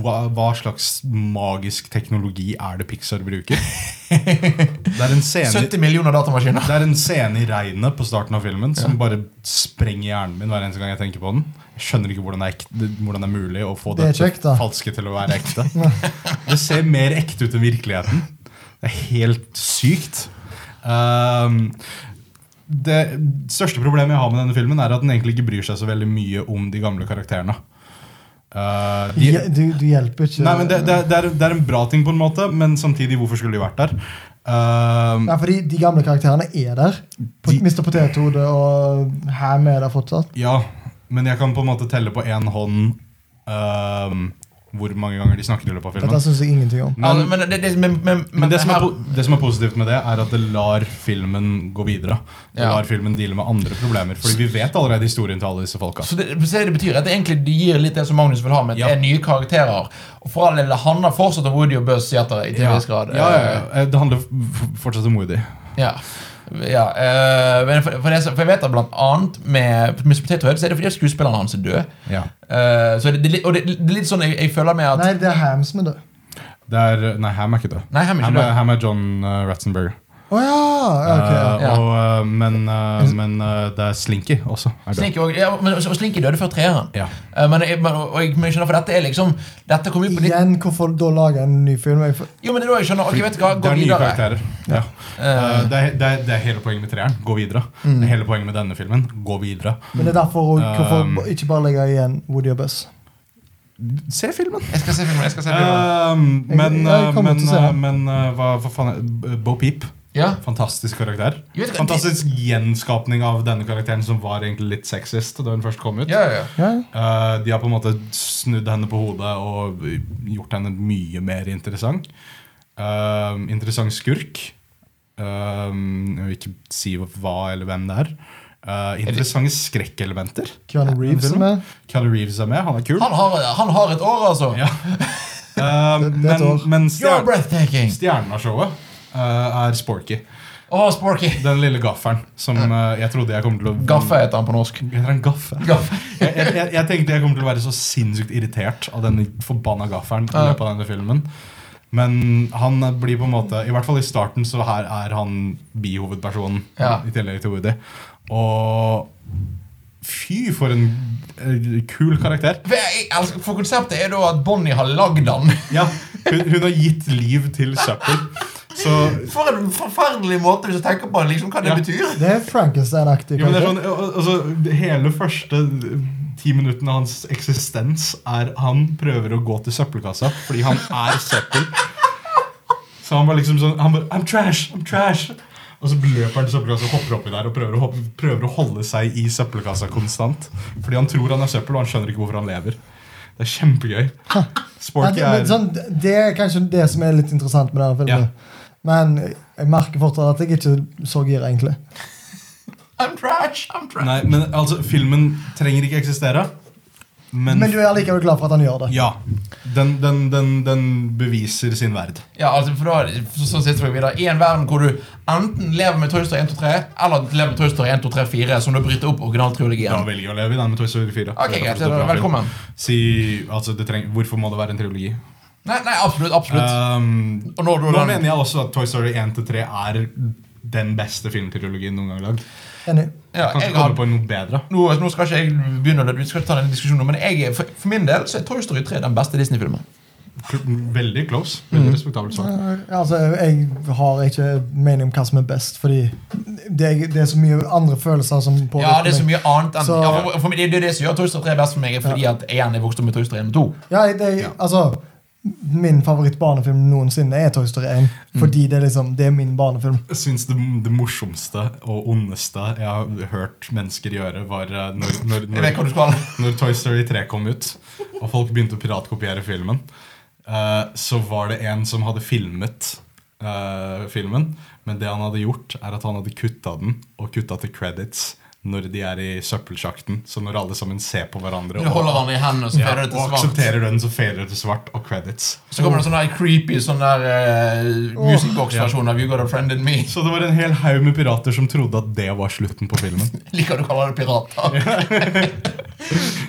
S2: hva, hva slags magisk teknologi er det Pixar bruker? det, er en scene,
S1: 70 millioner datamaskiner.
S2: det er en scene i regnet på starten av filmen som bare sprenger hjernen min hver eneste gang jeg tenker på den. Jeg skjønner ikke hvordan det er, ekte, hvordan det er mulig å få
S3: Det er
S2: dette
S3: kjekt, da.
S2: falske til å være ekte. Det ser mer ekte ut enn virkeligheten. Det er helt sykt. Ehm, det største problemet jeg har med denne filmen, er at den egentlig ikke bryr seg så veldig mye om de gamle karakterene. Eh, de,
S3: Ja, Du, du hjelper ikke.
S2: nei, men det, det, det, er, det er en bra ting, på en måte, men samtidig, hvorfor skulle de vært der? Ehm,
S3: Nei, fordi de gamle karakterene er der. Pot-
S2: De-
S3: Mr. Potethode og Ham er der fortsatt.
S2: ja, men jeg kan på en måte telle på én hånd ehm, hvor mange ganger de snakker i løpet av filmen.
S3: Dette syns jeg ingenting om.
S1: Altså, men, det, det, men, men,
S2: Men, det, som er,
S1: her-
S2: po- det som er positivt med det, er at det lar filmen gå videre. Det
S1: Ja.
S2: lar filmen deale med andre problemer, Fordi vi vet allerede historien til alle disse folka.
S1: Så det, så det betyr at det egentlig det gir litt det som Magnus vil ha, med at
S2: Ja.
S1: det er nye karakterer. Og for all del, det handler fortsatt om Woody og Buzz Seater i til en
S2: Ja.
S1: viss grad. eh,
S2: Ja, ja, ja. Det handler f- fortsatt om Woody.
S1: Ja. ja eh, men for, for, det, som- for jeg vet at blant annet med Mr. Potato Head, så er det fordi at skuespilleren hans er død.
S2: Ja.
S1: Eh, så det, det, er litt- og det, det er litt sånn jeg, jeg føler med at
S3: Nei, det er Ham som er død.
S2: Det er, nei, Ham er ikke det.
S1: Nei, Ham er
S2: Ham
S1: ikke
S2: er,
S1: død.
S2: Ham er John uh, Ratzenberger.
S3: Å ja! ja, ok, ja.
S2: Eh,
S1: ja.
S2: og, eh, men eh, men eh, det er Slinky også. Er død.
S1: Slinky, og, ja, men, og Slinky døde før treeren.
S2: Ja.
S1: Eh, men, jeg, men, og jeg, men jeg skjønner, for dette er liksom Dette kom ut på litt
S3: Igjen, hvorfor da lage en ny film? Jeg, for-
S1: Jo, men det er da jeg skjønner. Ok, vet du hva,
S2: det
S1: gå
S2: er nye
S1: videre.
S2: karakterer. Ja. Eh, Mm. det, er, det, er, det er hele poenget med treeren. Gå videre. Det er hele poenget med denne filmen. Gå videre.
S3: men det er derfor og, hvorfor
S2: Um,
S3: ba- ikke bare legge igjen Woody og Buzz.
S2: Se filmen!
S1: Jeg skal se filmen. jeg skal se filmen
S2: Ehm, men
S3: Jeg- jeg
S2: eh,
S3: kommer
S2: men,
S3: til å se
S2: eh,
S3: den.
S2: men eh, hva, hva faen er B- Bo Peep.
S1: Ja
S2: Fantastisk karakter.
S1: Jeg vet ikke-
S2: Fantastisk gjenskapning av denne karakteren, som var egentlig litt sexist da hun først kom ut.
S1: ja, ja, ja.
S3: Ja, ja.
S2: Eh, de har på en måte snudd henne på hodet og gjort henne mye mer interessant. Ehm, interessant skurk. Ehm, jeg vil ikke si hva eller hvem det er. Eh, interessante skrekkelementer.
S3: Keanu Reeves som er
S2: Kelly Reeves er med, han er kul.
S1: Han, har, han har et år, altså.
S2: Ja. Ehm,
S3: Det- det er
S2: men
S3: et år.
S2: men
S1: You're
S2: stjer
S1: breathtaking.
S2: stjernen av showet eh, er Sporky.
S1: Å, Sporky.
S2: Den lille gafferen som eh, jeg trodde jeg kom til å
S1: Gaffe heter han på norsk.
S2: Heter han Gaffe?
S1: Gaffe.
S2: jeg, jeg, jeg- jeg tenkte jeg kom til å være så sinnssykt irritert av denne forbanna gafferen. i
S1: Ja.
S2: løpet av denne filmen Men han blir på en måte I hvert fall i starten så her er han bihovedpersonen.
S1: Ja.
S2: I tillegg til Woody. Og fy, for en eh, kul karakter.
S1: For, jeg, elsker- altså, for konseptet er da at Bonnie har lagd han.
S2: Ja, hun, hun har gitt liv til søppel. Så
S1: For en forferdelig måte hvis du tenker på liksom, hva det
S2: Ja.
S1: betyr.
S3: Det er Frankenstein-aktig.
S2: jo, men det er
S3: kanskje.
S2: sånn, al- altså, Hele første ti minuttene av hans eksistens er han prøver å gå til søppelkassa fordi han er søppel. Så han var liksom sånn han bare, I'm trash, I'm trash. Og så løper han til søppelkassa og hopper oppi der og prøver å, hoppe, prøver å holde seg i søppelkassa konstant. Fordi han tror han er søppel, og han skjønner ikke hvorfor han lever. Det er kjempegøy.
S3: Ja,
S2: Sporky
S3: det, men
S2: er
S3: sånn, det er kanskje det som er litt interessant med denne filmen.
S2: Ja.
S3: Men jeg merker fortsatt at jeg ikke er så gira, egentlig.
S1: I'm trash, I'm trash.
S2: Nei, men altså, filmen trenger ikke eksistere. Men,
S3: Men du er allikevel glad for at han gjør det.
S2: ja. Den, den, den, den beviser sin verd.
S1: Ja, altså, for da, så, så sitter vi videre I en verden hvor du enten lever med Toy Story 1, 2, 3, eller lever med Toy Story 1, 2, 3, 4, som du bryter opp
S2: Da
S1: originaltrilogien.
S2: velger jeg å leve i den med Toy Story 4.
S1: Ok,
S2: Det er
S1: greit,
S2: fortsatt en bra film.
S1: Velkommen.
S2: Si, altså, det treng, hvorfor må det være en trilogi?
S1: Nei, nei, absolutt. absolutt.
S2: Um,
S1: Og når du-
S2: nå mener jeg også at Toy Story 1-3 er den beste filmtrilogien noen gang lagd.
S3: Enig.
S1: ja,
S2: Kan
S1: jeg
S2: ikke
S1: har,
S2: komme på noe bedre.
S1: nå, nå skal ikke jeg begynne å- vi skal ikke ta den diskusjonen, men jeg, er- for, for min del så er Toy Story 3 den beste Disney-filmen.
S2: Kl- Veldig close. Veldig
S1: Mm.
S2: respektabelt svar.
S3: Nei, Altså, jeg har ikke mening om hva som er best, fordi det er, det er så mye andre følelser som påvirker
S1: Ja, det er så
S3: meg.
S1: mye annet enn
S3: Så-
S1: ja, for, for meg, Det er jo det som gjør Toaster 3 best for meg, er fordi at jeg gjerne er vokst opp med Toaster 1 og 2.
S3: Ja, det, er-
S2: Ja.
S3: altså Min favoritt-barnefilm noensinne er Toy Story 1,
S2: Mm.
S3: fordi det er liksom, det er min barnefilm.
S2: Jeg syns det, det morsomste og ondeste jeg har hørt mennesker gjøre, var eh, når, når,
S1: Jeg vet
S2: når,
S1: hva du skal
S2: når Toy Story 3 kom ut, og folk begynte å piratkopiere filmen. eh, så var det en som hadde filmet eh, filmen, men det han hadde gjort, er at han hadde kutta den, og kutta til credits når de er i søppelsjakten. Så når alle sammen ser på hverandre
S1: Du holder
S2: og,
S1: han i hendene, og så
S2: ja,
S1: fader det
S2: og
S1: til svart.
S2: aksepterer den, så fader det til svart, og credits.
S1: Så kommer det en sånn der creepy sånn der eh, musicbox-versjon av You Got A Friend In Me.
S2: Så det var en hel haug med pirater som trodde at det var slutten på filmen.
S1: Liker du å kalle det pirater.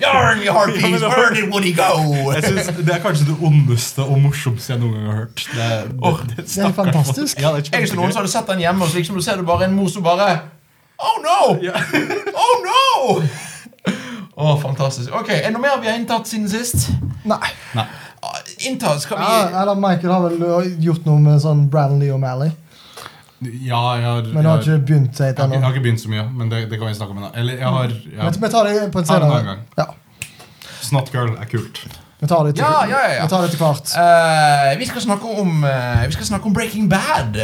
S1: Yarn, your heart
S2: Ja, men
S1: piece,
S2: det var-
S1: where did Woody go?
S2: Jeg synes Det er kanskje det ondeste og morsomste jeg noen gang har hørt. Det, er-
S1: Åh,
S2: det,
S3: Det er fantastisk.
S2: Ja, det er
S1: Jeg så noen
S2: kjempegøy.
S1: som hadde sett den hjemme, og så liksom, du ser du bare en mor som bare Oh no!
S2: Ja.
S1: Oh no! Å, fantastisk. Ok, Er det noe mer vi har inntatt siden sist?
S3: Nei.
S2: Nei.
S1: Ah, Inntatt? Skal vi
S3: Ja, eller Michael har vel gjort noe med sånn Branley og Mally,
S2: Ja, jeg har,
S3: men
S2: jeg,
S3: har
S2: har, jeg,
S3: ikke begynt seg
S2: har, ikke-
S3: ennå.
S2: jeg har ikke begynt så mye, men det, det kan vi snakke om en dag. Eller jeg har ja.
S3: Men Vi tar det på en
S2: Ta det en
S3: senere
S2: annen gang.
S3: Ja,
S2: Snotgirl er kult.
S3: vi tar det til,
S1: Ja, ja, ja, ja.
S3: Vi tar det til hvert.
S1: Eh, vi, skal snakke om, eh, vi skal snakke om Breaking Bad.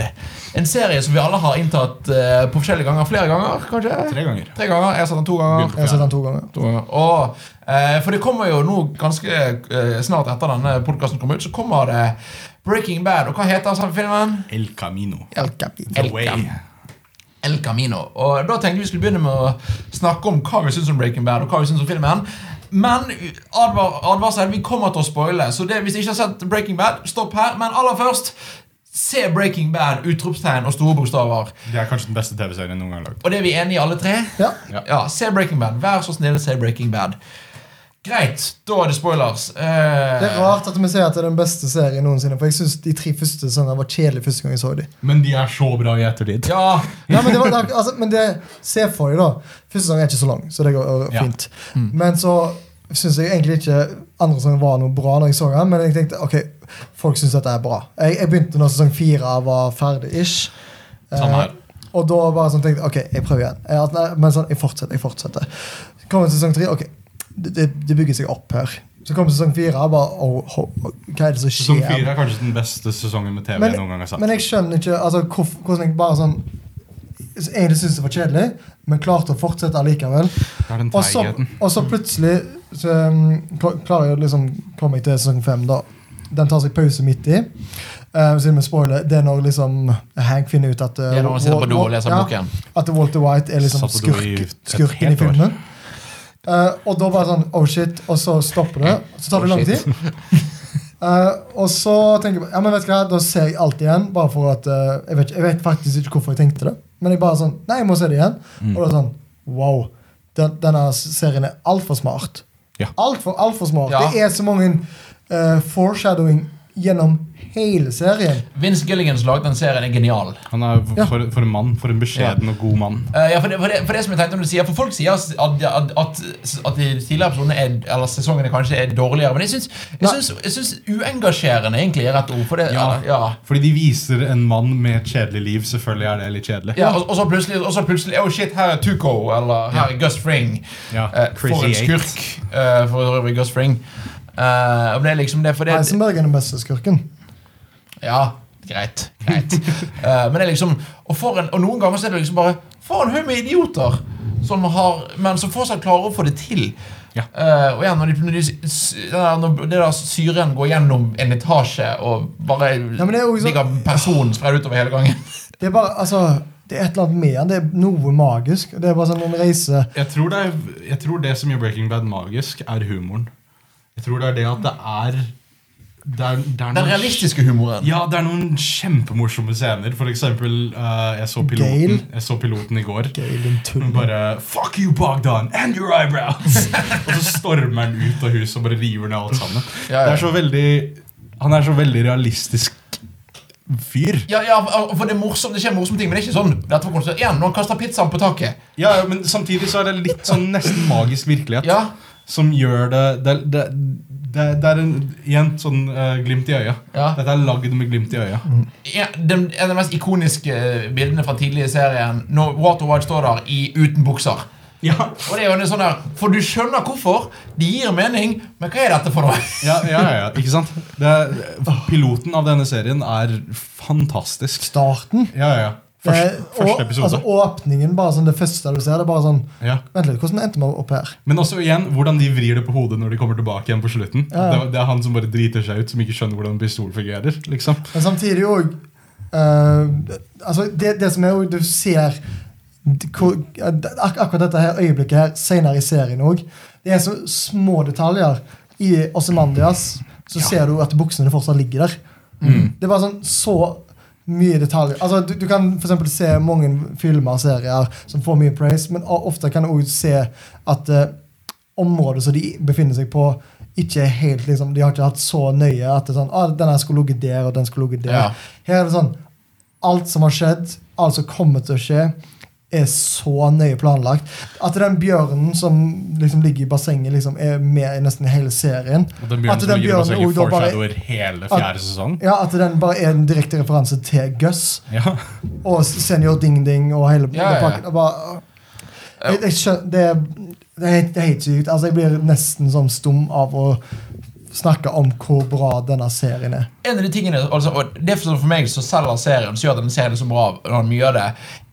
S1: En serie som vi alle har inntatt eh, på forskjellige ganger. Flere ganger, kanskje?
S2: Tre ganger.
S1: Tre ganger. Jeg har sett den to ganger.
S3: Jeg har sett den to ganger.
S1: To ganger. Og, eh, for det kommer jo nå ganske eh, snart etter denne podkasten kommer ut, så kommer det Breaking Bad. Og hva heter den filmen?
S2: El Camino.
S3: El Capito.
S2: The
S1: El
S2: Way.
S1: Cam- El Camino. Og da tenkte vi skulle begynne med å snakke om hva vi syns om Breaking Bad. og hva vi synes om filmen. Men advar, advarsel, vi kommer til å spoile. Så det, hvis du ikke har sett Breaking Bad, stopp her. Men aller først, se Breaking Bad! Utropstegn og store bokstaver.
S2: Det er kanskje den beste TV-serien noen gang lagd.
S1: Og det er vi enige i, alle tre?
S3: Ja.
S2: Ja.
S1: Ja, se Breaking Bad. Vær så snill, se Breaking Bad. Greit, da er det spoilers. Eh,
S3: Det er rart at vi sier at det er den beste serien noensinne, for jeg syns de tre første sånne var kjedelige første gang jeg så de.
S2: Men de er så bra i ettertid.
S1: Ja,
S3: Nei, men det, var, det- altså, men det Se for deg, da. Første sesong er ikke så lang, så det går øh,
S2: Ja. Mm.
S3: fint. Men så syns jeg egentlig ikke andre sesong var noe bra, når jeg så den, men jeg tenkte ok, folk syns dette er bra. Jeg, jeg begynte når sesong fire var ferdig. ish
S2: Samme her.
S3: og da bare sånn tenkte jeg, ok, jeg prøver igjen. Jeg, nei, men sånn, jeg fortsetter, jeg fortsetter. Så kommer sesong tre. Ok, det, det, det bygger seg opp her. Så kommer sesong fire. og bare, oh, oh, Hva er det som
S2: Sesong
S3: skjer?
S2: fire er kanskje den beste sesongen med TV
S3: Men-
S2: jeg noen gang har sett.
S3: Men jeg skjønner ikke altså, hvorf- hvordan jeg bare sånn Egentlig syntes det var kjedelig, men klarte å fortsette allikevel.
S2: Det er den
S3: Og så,
S2: teigheten.
S3: og så plutselig så, um, kl- klarer jeg å liksom komme meg til sesong fem. da. Den tar seg pause midt i. Eh, siden vi spoiler, Det er når liksom Hank finner ut at eh,
S1: det er når han sitter
S3: Wal-
S1: på do og leser
S3: ja,
S1: boken.
S3: At Walter White er liksom
S2: Satt på do i
S3: skurk,
S2: et
S3: skurken i
S2: helt år.
S3: filmen. Eh, og da bare sånn Oh shit. Og så stopper det. Så tar det
S1: Oh,
S3: lang
S1: shit.
S3: tid. Eh, og så tenker jeg bare, ja, men vet du hva, Da ser jeg alt igjen, bare for at eh, jeg, vet, ikke- jeg vet faktisk ikke hvorfor jeg tenkte det. Men jeg bare sånn Nei, jeg må se det igjen.
S2: Mm.
S3: Og da er det sånn Wow. Den, denne serien er altfor smart.
S2: Ja.
S3: Altfor alt for smart.
S1: Ja.
S3: Det er så mange eh, foreshadowing gjennom hele serien.
S1: Vince Gilligans lagde den serien er genial.
S2: Han er
S3: Ja.
S2: for, for en mann. For en beskjeden og god mann.
S1: Eh, ja, for det, for, det, for det som jeg tenkte om du sier For folk sier at, at, at, at de tidligere episodene er, Eller sesongene kanskje er dårligere Men jeg syns, jeg
S3: Nei.
S1: syns, jeg syns uengasjerende egentlig er rett ord For det, ja.
S2: Ja.
S1: Ja,
S2: Fordi de viser en mann med et kjedelig liv. Selvfølgelig er det litt kjedelig.
S1: ja, og, og så plutselig, og så plutselig Oh shit, her er Tuco Eller her er Gus Fring
S2: Ja,
S1: Eh, For en
S2: Eight.
S1: skurk eh, For øvrig Gus Fring Eh, og det er liksom det, for det,
S3: Heisenberg er den beste skurken.
S1: Ja, greit. greit. Eh, men det er liksom og, for en, og noen ganger så er det liksom bare For en haug med idioter! Som har, men som fortsatt klarer å få det til.
S2: Ja.
S1: Eh, og igjen, når, de, når, de, s- den der, når det der syren går gjennom en etasje og bare
S3: Ja, men det er jo ikke sånn-
S1: ligger personen spredd utover hele gangen.
S3: Det er bare, altså Det er et eller annet med han. Det er noe magisk. Det er bare sånn en reise
S2: Jeg tror, det er, jeg tror det som gjør Breaking Bad magisk, er humoren. Jeg tror det er det at det er Det er, det er
S1: Den realistiske humoren.
S2: Ja, det er noen kjempemorsomme scener. For eksempel, eh, jeg, så
S3: Gale.
S2: piloten, jeg så piloten i går.
S3: Gøy, din
S2: Hun
S3: tull.
S2: bare Fuck you, Bogdan! And your eyebrows! og så stormer han ut av huset og bare river ned alt sammen.
S1: Ja, ja.
S2: Det er så veldig Han er så veldig realistisk fyr.
S1: Ja, ja, for- for det er morsomt, det skjer morsomme ting, men det er ikke sånn Dette var konstant, igjen, Når han kaster pizzaen på taket.
S2: Ja, ja, Men samtidig så er det litt sånn nesten magisk virkelighet.
S1: Ja,
S2: som gjør det Det, det, det, det er en, igjen sånn eh, glimt i øyet.
S1: Ja.
S2: Dette er lagd med glimt i øyet.
S3: Mm.
S1: Ja, den, en av de mest ikoniske eh, bildene fra tidligere i serien når Waterwide står der i uten bukser.
S2: Ja,
S1: Og det er jo en sånn der, For du skjønner hvorfor. Det gir mening, men hva er dette for noe?
S2: ja, ja, ja, ikke sant? Det, piloten av denne serien er fantastisk.
S3: Starten.
S2: Ja, ja, ja.
S3: Det
S2: Først,
S3: er-
S2: første
S3: og-
S2: episode.
S3: Altså Åpningen, bare sånn det første du ser. Det er bare sånn
S2: Ja.
S3: Vent litt, hvordan endte vi opp her?
S2: Men også igjen, hvordan de vrir det på hodet når de kommer tilbake igjen på slutten.
S3: Ja.
S2: Det, det er han som bare driter seg ut, som ikke skjønner hvordan en pistol fungerer. liksom.
S3: Men samtidig òg altså det, det som er jo Du ser d- hvor, ak akkurat dette her øyeblikket her senere i serien òg. Det er så små detaljer. I Ossimandias så ser du at buksene fortsatt ligger der. Det er bare sånn så mye detaljer. Altså, du, du kan for eksempel se mange filmer og serier som får mye praise, men o- ofte kan du òg se at eh, området som de befinner seg på, ikke er helt liksom, De har ikke hatt så nøye at det er sånn, ah, den her skulle ligget der, og den skulle ligget der.
S1: Ja.
S3: Her er det sånn Alt som har skjedd, alt som kommer til å skje, er så nøye planlagt. At den bjørnen som liksom ligger i bassenget, liksom er med i nesten hele serien.
S2: Og den bjørnen
S3: At
S2: som ligger
S3: den
S2: i
S3: bjørnen
S2: bassenget,
S3: også da bare-
S2: foreshadower hele fjerde sesong.
S3: Ja, At den bare er en direkte referanse til Gus
S2: Ja.
S3: og Senior Ding Ding og hele
S1: Ja, ja, ja.
S3: pakken. Og bare, jeg, jeg skjøn, det, er- det, er, helt- det er helt sykt. Altså, jeg blir nesten sånn stum av å snakke om hvor bra denne serien er.
S1: en av de tingene altså, og Det som for meg som selger serien, som gjør at den serien er så bra, når mye av det,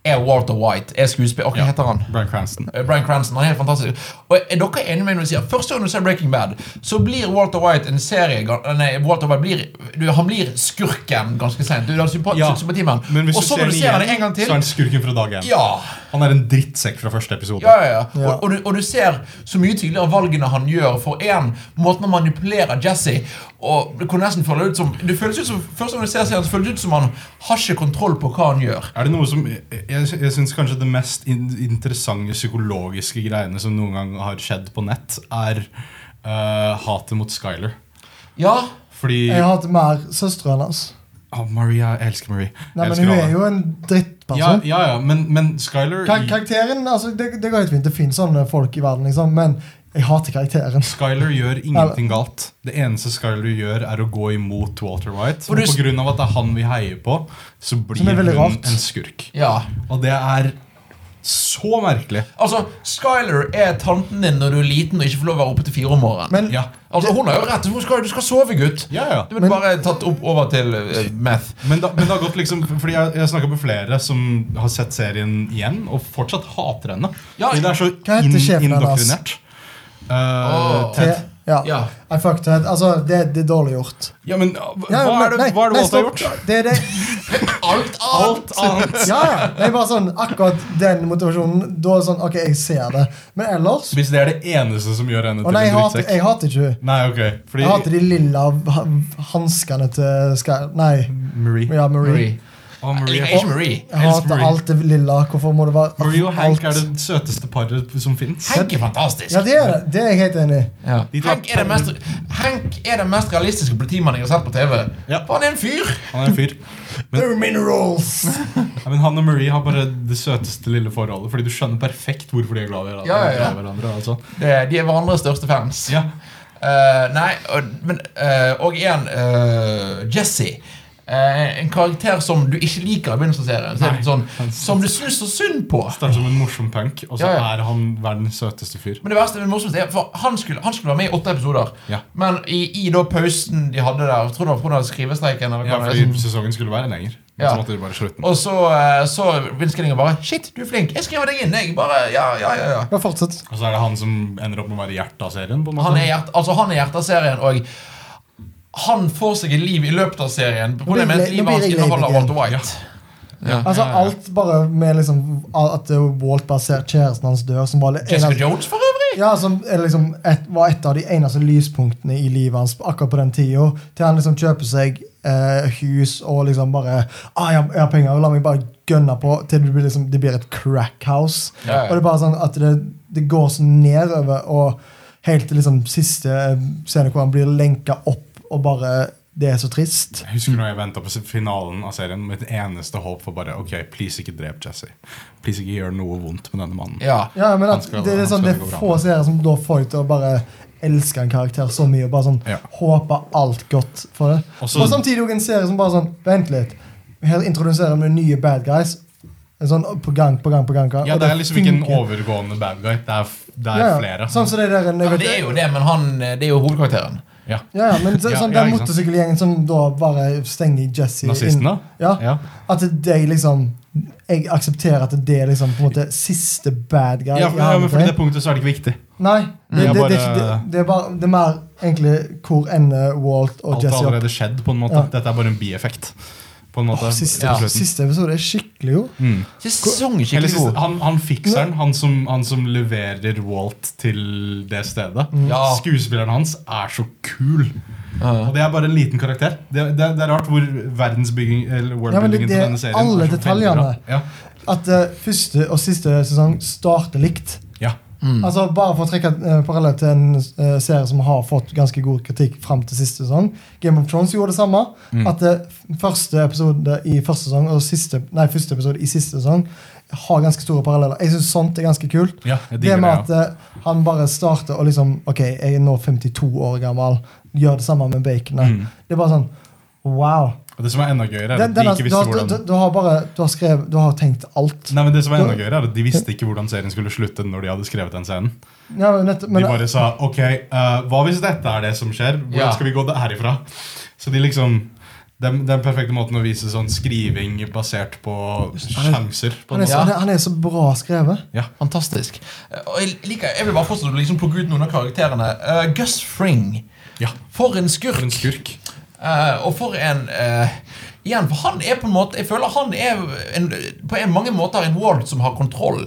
S1: er Walter White. Er skuespiller. Hva
S2: Ja.
S1: heter han?
S2: Bryan Cranston.
S1: Eh, Bryan Cranston, han er helt fantastisk. Og er dere enige med meg når jeg sier Første gang du ser Breaking Bad, så blir Walter White en serie eh, Nei, Walter White blir du, Han blir skurken ganske sent. Du, du har sympa-
S2: Ja,
S1: sympati med
S2: Men
S1: han.
S2: hvis
S1: Og så når du ser han en gang
S2: så er
S1: til
S2: han skurken fra dag én.
S1: Ja!
S2: Han er en drittsekk fra første episode.
S1: Ja, ja, ja.
S3: Ja.
S1: Og, og, du, og du ser så mye tydeligere valgene han gjør. For én, måten han manipulerer Jesse og Det kunne nesten føle ut som Det føles ut som Først når du ser serien, så føles det ut som han har ikke kontroll på hva han gjør.
S2: Er det noe som, Jeg, jeg syns kanskje det mest in interessante psykologiske greiene som noen gang har skjedd på nett, er eh, hatet mot Skyler.
S1: Ja,
S2: Fordi
S3: Jeg har hatt mer søstrene hans.
S2: Å, Maria, jeg elsker Marie. Jeg
S3: Nei, men
S2: elsker
S3: hun
S2: alle.
S3: er jo
S2: ja,
S3: en
S1: sånn.
S3: drittperson.
S2: ja, ja, men, men Skyler
S3: Kar karakteren, altså, det, det går helt fint. Det finnes sånne folk i verden, liksom, men jeg hater karakteren.
S2: Skyler gjør ingenting galt. Det eneste Skyler gjør, er å gå imot Walter White.
S1: For
S2: Men
S1: du-
S2: på grunn av at det er han vi heier på, så
S3: Som
S2: blir
S3: er
S2: hun
S3: veldig rart.
S2: en skurk.
S1: ja.
S2: Og det er så merkelig.
S1: Altså, Skyler er tanten din når du er liten og ikke får lov å være oppe til fire om morgenen.
S3: Men
S2: Ja,
S1: Altså, Hun har jo rett. Hun skal, du skal sove, gutt.
S2: ja, ja.
S1: Du blir bare tatt opp over til eh, meth.
S2: Men, da, men det har gått liksom Fordi jeg, jeg snakka med flere som har sett serien igjen, og fortsatt hater henne.
S1: Ja,
S2: fordi det er så
S3: Hva heter
S2: inn,
S3: sjefen hennes?
S2: indoktrinert. Eh,
S1: Åh.
S2: Ted.
S3: Ja.
S1: Ja.
S3: I fucked Ted. Altså, det, det er dårlig gjort.
S2: Ja, men hva
S3: Ja,
S2: er det,
S3: men- nei,
S2: hva er det Walter
S3: nei,
S2: har
S3: stopp.
S2: gjort?
S3: Det er det.
S1: Alt
S2: Alt annet
S3: Ja, ja. Det er bare sånn, akkurat den motivasjonen. Da er det sånn, ok, jeg ser det. Men ellers
S2: Hvis det er det eneste som gjør henne
S3: Å
S2: til
S3: nei, jeg
S2: en
S3: hater,
S2: drittsekk.
S3: jeg hater ikke hun.
S2: Nei, ok Fordi
S3: Jeg hater de lilla ha- hanskene til Sky... Nei.
S2: Marie.
S3: Ja, Marie.
S1: Marie. Jeg
S2: Å, Marie.
S1: liker ikke Marie.
S3: Jeg hater
S2: Marie.
S3: alt det lilla. Hvorfor må det være
S2: Marie og Hank er
S3: alt?
S2: det søteste paret som fins.
S1: Hank er fantastisk.
S3: Ja, det er det. Det er jeg helt enig i.
S1: Ja.
S2: De tar
S1: Hank, er den mest, Hank er den mest realistiske politimannen jeg har sett på TV.
S2: Ja.
S1: For han er en fyr!
S2: Han er en fyr.
S3: They're minerals!
S2: Nei, men han og Marie har bare det søteste lille forholdet, fordi du skjønner perfekt hvorfor de er glad i hverandre.
S1: Ja, ja, ja.
S2: glad i hverandre altså.
S1: Det, de er hverandres største fans.
S2: ja.
S1: Eh, nei, og, men, eh, og igjen eh, Jesse. Eh, en karakter som du ikke liker i begynnelsen av serien. Så er det
S2: Nei.
S1: sånn, som du syns så synd på.
S2: Starter som en morsom punk, og så
S1: Ja, ja.
S2: er han verdens søteste fyr.
S1: Men det verste det morsomste er For han skulle, han skulle være med i åtte episoder.
S2: Ja.
S1: Men i, i da pausen de hadde der, jeg tror det var pga. skrivestreiken eller
S2: Ja,
S1: hva det
S2: fordi
S1: er, som-
S2: sesongen skulle være lenger. Men
S1: Ja.
S2: Så måtte de bare slutte den.
S1: Og så, eh, så Vince Gilligan bare 'Shit, du er flink. Jeg skriver deg inn.' Jeg bare, ja, ja, ja, ja.
S3: Bare fortsett.
S2: Og så er det han som ender opp med å være hjertet av serien. på en måte.
S1: Han er, hjert, altså han er hjertet av serien, og han får seg et liv i løpet av serien. På grunn av
S3: Nå blir
S1: at
S3: jeg- nå
S1: livet hans
S3: blir jeg
S1: inneholder
S3: glad igjen.
S1: Walter White. Ja.
S3: Altså,
S2: ja, ja.
S3: alt bare med liksom at det er Walt bare ser kjæresten hans dør, som bare
S1: Jessica Jones, for øvrig.
S3: Ja, som er liksom et, var et av de eneste lyspunktene i livet hans akkurat på den tida. Til han liksom kjøper seg eh, hus og liksom bare ah, jeg, 'Jeg har penger, og la meg bare gønne på.' Til det blir, liksom, det blir et crackhouse.
S1: Ja, ja.
S3: Og det er bare sånn at det, det går sånn eh, nedover, og helt til liksom siste scene hvor han blir lenka opp og bare Det er så trist.
S2: Jeg husker da jeg venta på finalen av serien. Mitt eneste håp var bare OK, please ikke drep Jesse. Please ikke gjør noe vondt med denne mannen.
S1: Ja.
S3: Ja, men
S2: Han
S3: at
S2: skal-
S3: det, er
S2: han
S3: sånn,
S2: skal
S3: det
S2: gå
S3: er
S2: bra.
S3: få seere som da får deg til å bare elske en karakter så mye og bare sånn
S2: Ja.
S3: håpe alt godt for det.
S2: Også-
S3: og samtidig også en serie som bare sånn Vent litt. Her introduserer vi nye bad guys. En sånn På gang, på gang, på gang. på gang,
S2: Ja,
S3: og
S2: det er liksom ikke en
S3: funker.
S2: overgående bad guy. Det er, f- det er
S3: Ja, ja.
S2: flere.
S3: Sånn som det der jeg
S1: Ja, men
S3: vet-
S1: det er jo det, men han, det er jo hovedkarakteren.
S2: Ja.
S3: Ja, ja, men så,
S2: Ja,
S3: sånn,
S2: ja,
S3: den
S2: ikke sant.
S3: motorsykkelgjengen som da bare stenger Jesse
S2: Nazisten, da?
S3: Ja,
S2: Ja.
S3: At de liksom Jeg aksepterer at det er liksom på en måte siste bad guy.
S2: Ja,
S3: i
S2: for, ja, men for
S3: hermetegn.
S2: det punktet så er det ikke viktig.
S3: Nei, det,
S2: Mm.
S3: det,
S2: Jeg
S3: det, er ikke- det,
S2: bare-
S3: det, er bare, det er mer egentlig hvor ender Walt og
S2: Alt har
S3: Jesse opp.
S2: allerede skjedd, på en måte.
S3: Ja.
S2: Dette er bare en bieffekt. På en måte.
S3: Åh, siste,
S2: på
S1: Ja.
S2: slutten.
S3: siste episode er skikkelig god.
S2: Mm.
S1: Sesong er
S2: Eller
S1: skikkelig
S2: siste,
S1: god.
S2: han, han fikseren, han som, han som leverer Walt til det stedet.
S3: Mm.
S1: Ja.
S2: Skuespilleren hans er så kul.
S1: Ja.
S2: Og det er bare en liten karakter. Det, det, det er rart hvor verdensbygging Eller
S3: Ja, men det-
S2: worldbuildingen
S3: det er
S2: til denne serien
S3: alle
S2: er så veldig bra.
S3: detaljene. At eh, første og siste sesong starter likt.
S2: Ja. ja.
S3: Altså Bare for å trekke uh, parallell til en eh, serie som har fått ganske god kritikk fram til siste sesong. Game of Thrones gjorde det samme.
S2: Mm.
S3: At eh, f- første episode i første sesong og siste, nei, første episode i siste sesong har ganske store paralleller. Jeg synes sånt er ganske kult.
S2: Ja, jeg digger
S3: det med
S2: det,
S3: at eh, han bare starter og liksom Ok, jeg er nå 52 år gammel. Gjør det samme med baconet.
S2: Mm.
S3: Det er bare sånn Wow.
S2: Og det som er enda gøyere, er at
S3: Den,
S2: de
S3: den,
S2: ikke
S3: du,
S2: visste
S3: har, du,
S2: hvordan
S3: du har bare Du har skrevet Du har tenkt alt.
S2: Nei, men det som er enda gøyere, er at de visste ikke hvordan serien skulle slutte når de hadde skrevet den scenen.
S3: Ja, men nettopp-
S2: De
S3: men-
S2: bare sa OK, eh, hva hvis dette er det som skjer?
S1: Ja.
S2: Hvordan skal vi gå det herifra? Så de liksom den, den perfekte måten å vise sånn skriving basert på sjanser på.
S3: han, er så,
S1: Ja.
S3: han, er, han er så bra skrevet.
S1: Fantastisk. Eh, Og jeg, liker, jeg vil bare fortsette å liksom plukke ut noen av karakterene. Eh, Gus Fring.
S2: Ja,
S1: For en skurk.
S2: for en skurk.
S1: Eh, og for en eh, Igjen, for han er på en måte Jeg føler han er en, på en, mange måter en Walt som har kontroll.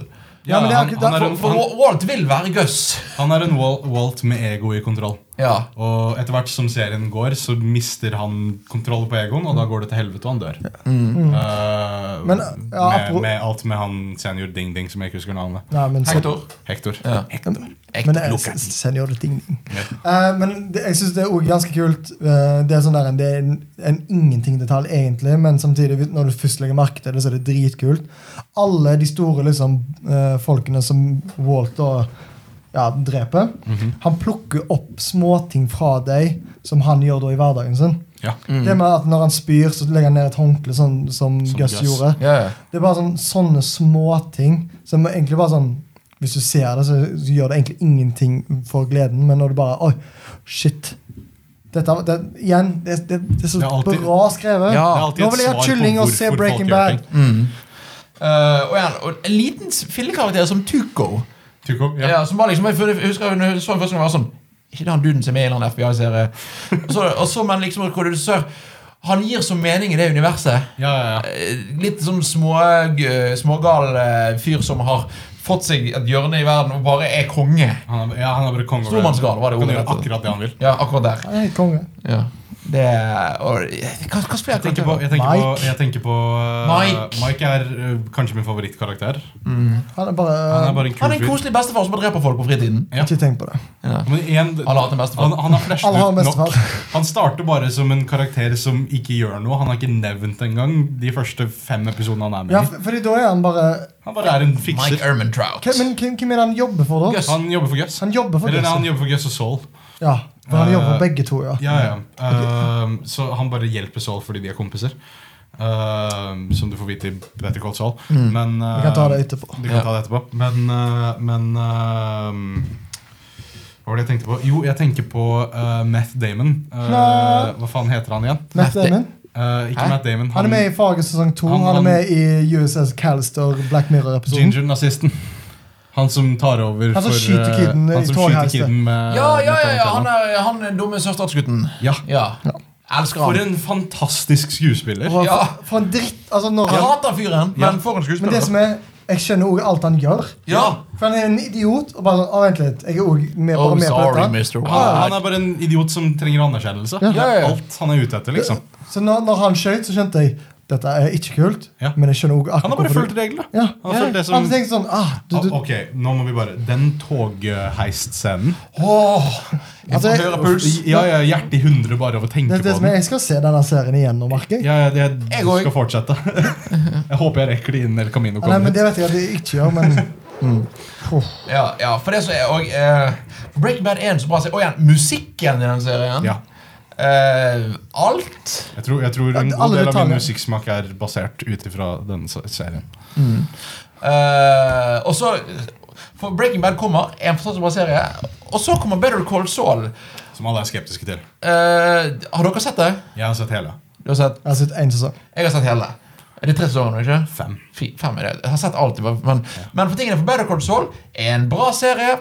S2: Ja,
S3: Ja, men det er
S2: han,
S3: akkurat
S2: han, er
S1: For,
S2: en,
S1: for
S2: han,
S1: Walt vil være Gus.
S2: han er en Wal- Walt med ego i kontroll.
S1: Ja.
S2: Og etter hvert som serien går, så mister han kontroll på egoen, og da går det til helvete, og han dør. Eh,
S3: Mm. Men, ja,
S2: med,
S3: apro-
S2: med alt med han senior Ding Ding, som jeg ikke husker navnet.
S3: Nei, men så,
S1: Hector.
S2: Hector.
S1: Ja.
S3: Men det er
S1: Ekte
S3: s- senior ting. Eh, men det, jeg syns det er også ganske kult. eh, det er sånn der, en- det er en, en ingenting-detalj, egentlig, men samtidig, hvis- når du først legger merke til det, så er det dritkult. Alle de store liksom, eh, folkene som Walt da ja, dreper, han plukker opp småting fra deg som han gjør da i hverdagen sin.
S2: Ja.
S1: Mhm. Mm.
S3: Det med at Når han spyr, så legger han ned et håndkle, sånn som,
S2: Som
S3: Gus
S2: Gus.
S3: gjorde.
S1: Ja, ja.
S3: Det er bare sånn, sånne småting som er egentlig bare sånn Hvis du ser det, så, så gjør det egentlig ingenting for gleden, men når du bare Oi, shit. Dette, det, igjen, det, det, det er så
S2: Det er alltid-
S3: bra skrevet.
S1: Ja.
S2: Det er alltid
S3: Ah,
S2: et
S3: Nå vil jeg ha
S2: svar på
S3: kylling og se
S2: hvorfor folk gjør
S3: Breaking Bad.
S2: ting.
S1: Mm. Eh, og, igjen, og en liten s- fillekarakter som Tuco.
S2: Tuco,
S1: Ja.
S2: ja.
S1: som var liksom, jeg føler- jeg husker når jeg så den første gang, var jeg sånn Ikke det han duden som er i en eller annen FBI-serie? Og så- Og så, men liksom, hvor du ser Han gir så mening i det universet.
S2: Ja, ja, ja.
S1: Eh, Litt sånn små, g- smågal eh, fyr som har fått seg et hjørne i verden og bare er konge.
S2: Han er, ja, han er bare konge. over-
S1: Stormannsgal var det
S2: Kan
S1: ordet
S2: gjøre
S1: dette.
S2: akkurat det han vil.
S1: Ja, akkurat der.
S3: Han er helt konge.
S1: Ja. Det er- og, eh, hva, hva spiller
S2: Jeg tenker på, jeg tenker på, jeg tenker på uh,
S1: Mike.
S2: Mike er uh, kanskje min favorittkarakter.
S3: Han er bare, øh,
S2: Han er bare en
S1: Han er
S2: kul
S1: en koselig
S2: fyr.
S1: bestefar som bare dreper folk på fritiden.
S2: ja.
S3: Ikke tenk på det.
S1: Ja.
S2: Men igjen,
S1: Alle har hatt en bestefar.
S2: Han, han har flashet
S3: Alle har
S2: ut
S3: en
S2: nok.
S3: bestefar.
S2: Han starter bare som en karakter som ikke gjør noe. Han har ikke nevnt engang de første fem episodene han er med
S3: Ja,
S2: i.
S3: for, fordi da er han bare
S2: Han bare er en
S1: Mike
S2: fikser.
S1: Ermentrout.
S3: hvem, Men hvem, hvem er det han jobber for, da?
S1: Gus.
S2: Han jobber for Gus.
S3: Han jobber for
S2: Eller nei, han
S3: Gus.
S2: jobber for Gus og Saul.
S3: Ja, for han
S2: Eh,
S3: jobber for begge to, ja.
S2: Ja, ja. Ehm, så han bare hjelper Saul fordi de er kompiser. Ehm, som du får vite i Better Call Saul. Men,
S3: Mm. Vi kan ta det
S2: ehm,
S3: etterpå.
S2: Du kan
S1: Ja.
S2: ta det etterpå. Men, eh, men eh, Hva var det jeg tenkte på? Jo, jeg tenker på eh, Meth Damon. Eh,
S3: Nei.
S2: hva faen heter han igjen?
S3: Matt Damon.
S2: Eh, ikke
S1: Hæ?
S2: Matt Damon.
S3: Han er med i Faget sesong to.
S2: han-
S3: Han er
S2: han-
S3: med i USS Callister Black Mirror-episoden.
S2: Ginger-nazisten. Han som tar over
S3: Han som
S2: for,
S3: skyter
S2: eh,
S3: kiden i
S2: han som skyter
S3: togheisen.
S2: kiden med
S1: Ja, ja, ja, ja. Han
S2: med
S1: er, Eh, han er dumme søstergutten.
S2: Ja.
S1: Ja. Elsker
S2: For
S1: han.
S2: en fantastisk skuespiller.
S3: Og
S1: Ja.
S3: for, for en dritt altså når
S1: Jeg
S3: han,
S1: hater fyren,
S2: Ja.
S1: men for en
S3: Men det
S1: skuespiller.
S3: som er Jeg skjønner også alt han gjør.
S1: Ja.
S3: For han er en idiot. Og bare sånn, «Å, vent litt, jeg er også med, bare
S1: Oh,
S3: med
S1: sorry,
S3: på dette.
S1: Mr.
S2: Han,
S1: White.
S2: han er bare en idiot som trenger anerkjennelse.
S1: Ja, ja, ja.
S2: Alt han er ute etter, liksom.
S3: Så når, når han skjøt, så skjønte jeg dette er ikke kult.
S2: Ja.
S3: Men jeg skjønner også
S2: Han har bare fulgt reglene.
S3: ja.
S2: Han har fulgt det som-
S3: Han tenkte sånn ah, du, du,
S2: Ah, ok, nå må vi bare Den togheist-scenen.
S1: Åh,
S3: Altså,
S1: Altså,
S3: jeg-
S1: høyere puls.
S2: Ja, ja, hjertet i hundre bare av å tenke
S3: Det, det
S2: på
S3: som
S2: den.
S3: er, jeg skal se denne serien igjen nå, merker jeg.
S2: Ja, ja, det,
S1: Jeg
S2: jeg
S1: går-
S2: skal fortsette. Jeg håper jeg rekker det innen El Camino
S3: Ah, Nei,
S2: kommer
S3: men
S2: ut.
S3: Det vet jeg at jeg ikke gjør, men Åh,
S1: Ja, ja, for det som er og, eh, Breaking Bad 1 så bra seg. Og igjen, musikken i den serien.
S2: Ja.
S1: Eh, alt.
S2: Jeg tror, jeg tror
S3: Ja,
S2: en
S3: det-
S2: god
S3: alle
S2: del av min
S3: detaljer.
S2: musikksmak er basert ut ifra denne se- serien.
S1: Eh, og så For Breaking Bad kommer, en fortsatt bra serie. Og så kommer Better Call Saul.
S2: Som alle er skeptiske til.
S1: Eh, har dere sett det?
S2: Jeg har sett hele.
S1: Du har sett?
S3: Jeg har sett én sesong.
S1: Jeg har sett hele. Er det tre sesonger, ikke?
S2: Fem.
S1: Fi- Fem er det. Jeg har sett alt. det var- Men, men for tingene for Better Call Saul er en bra serie.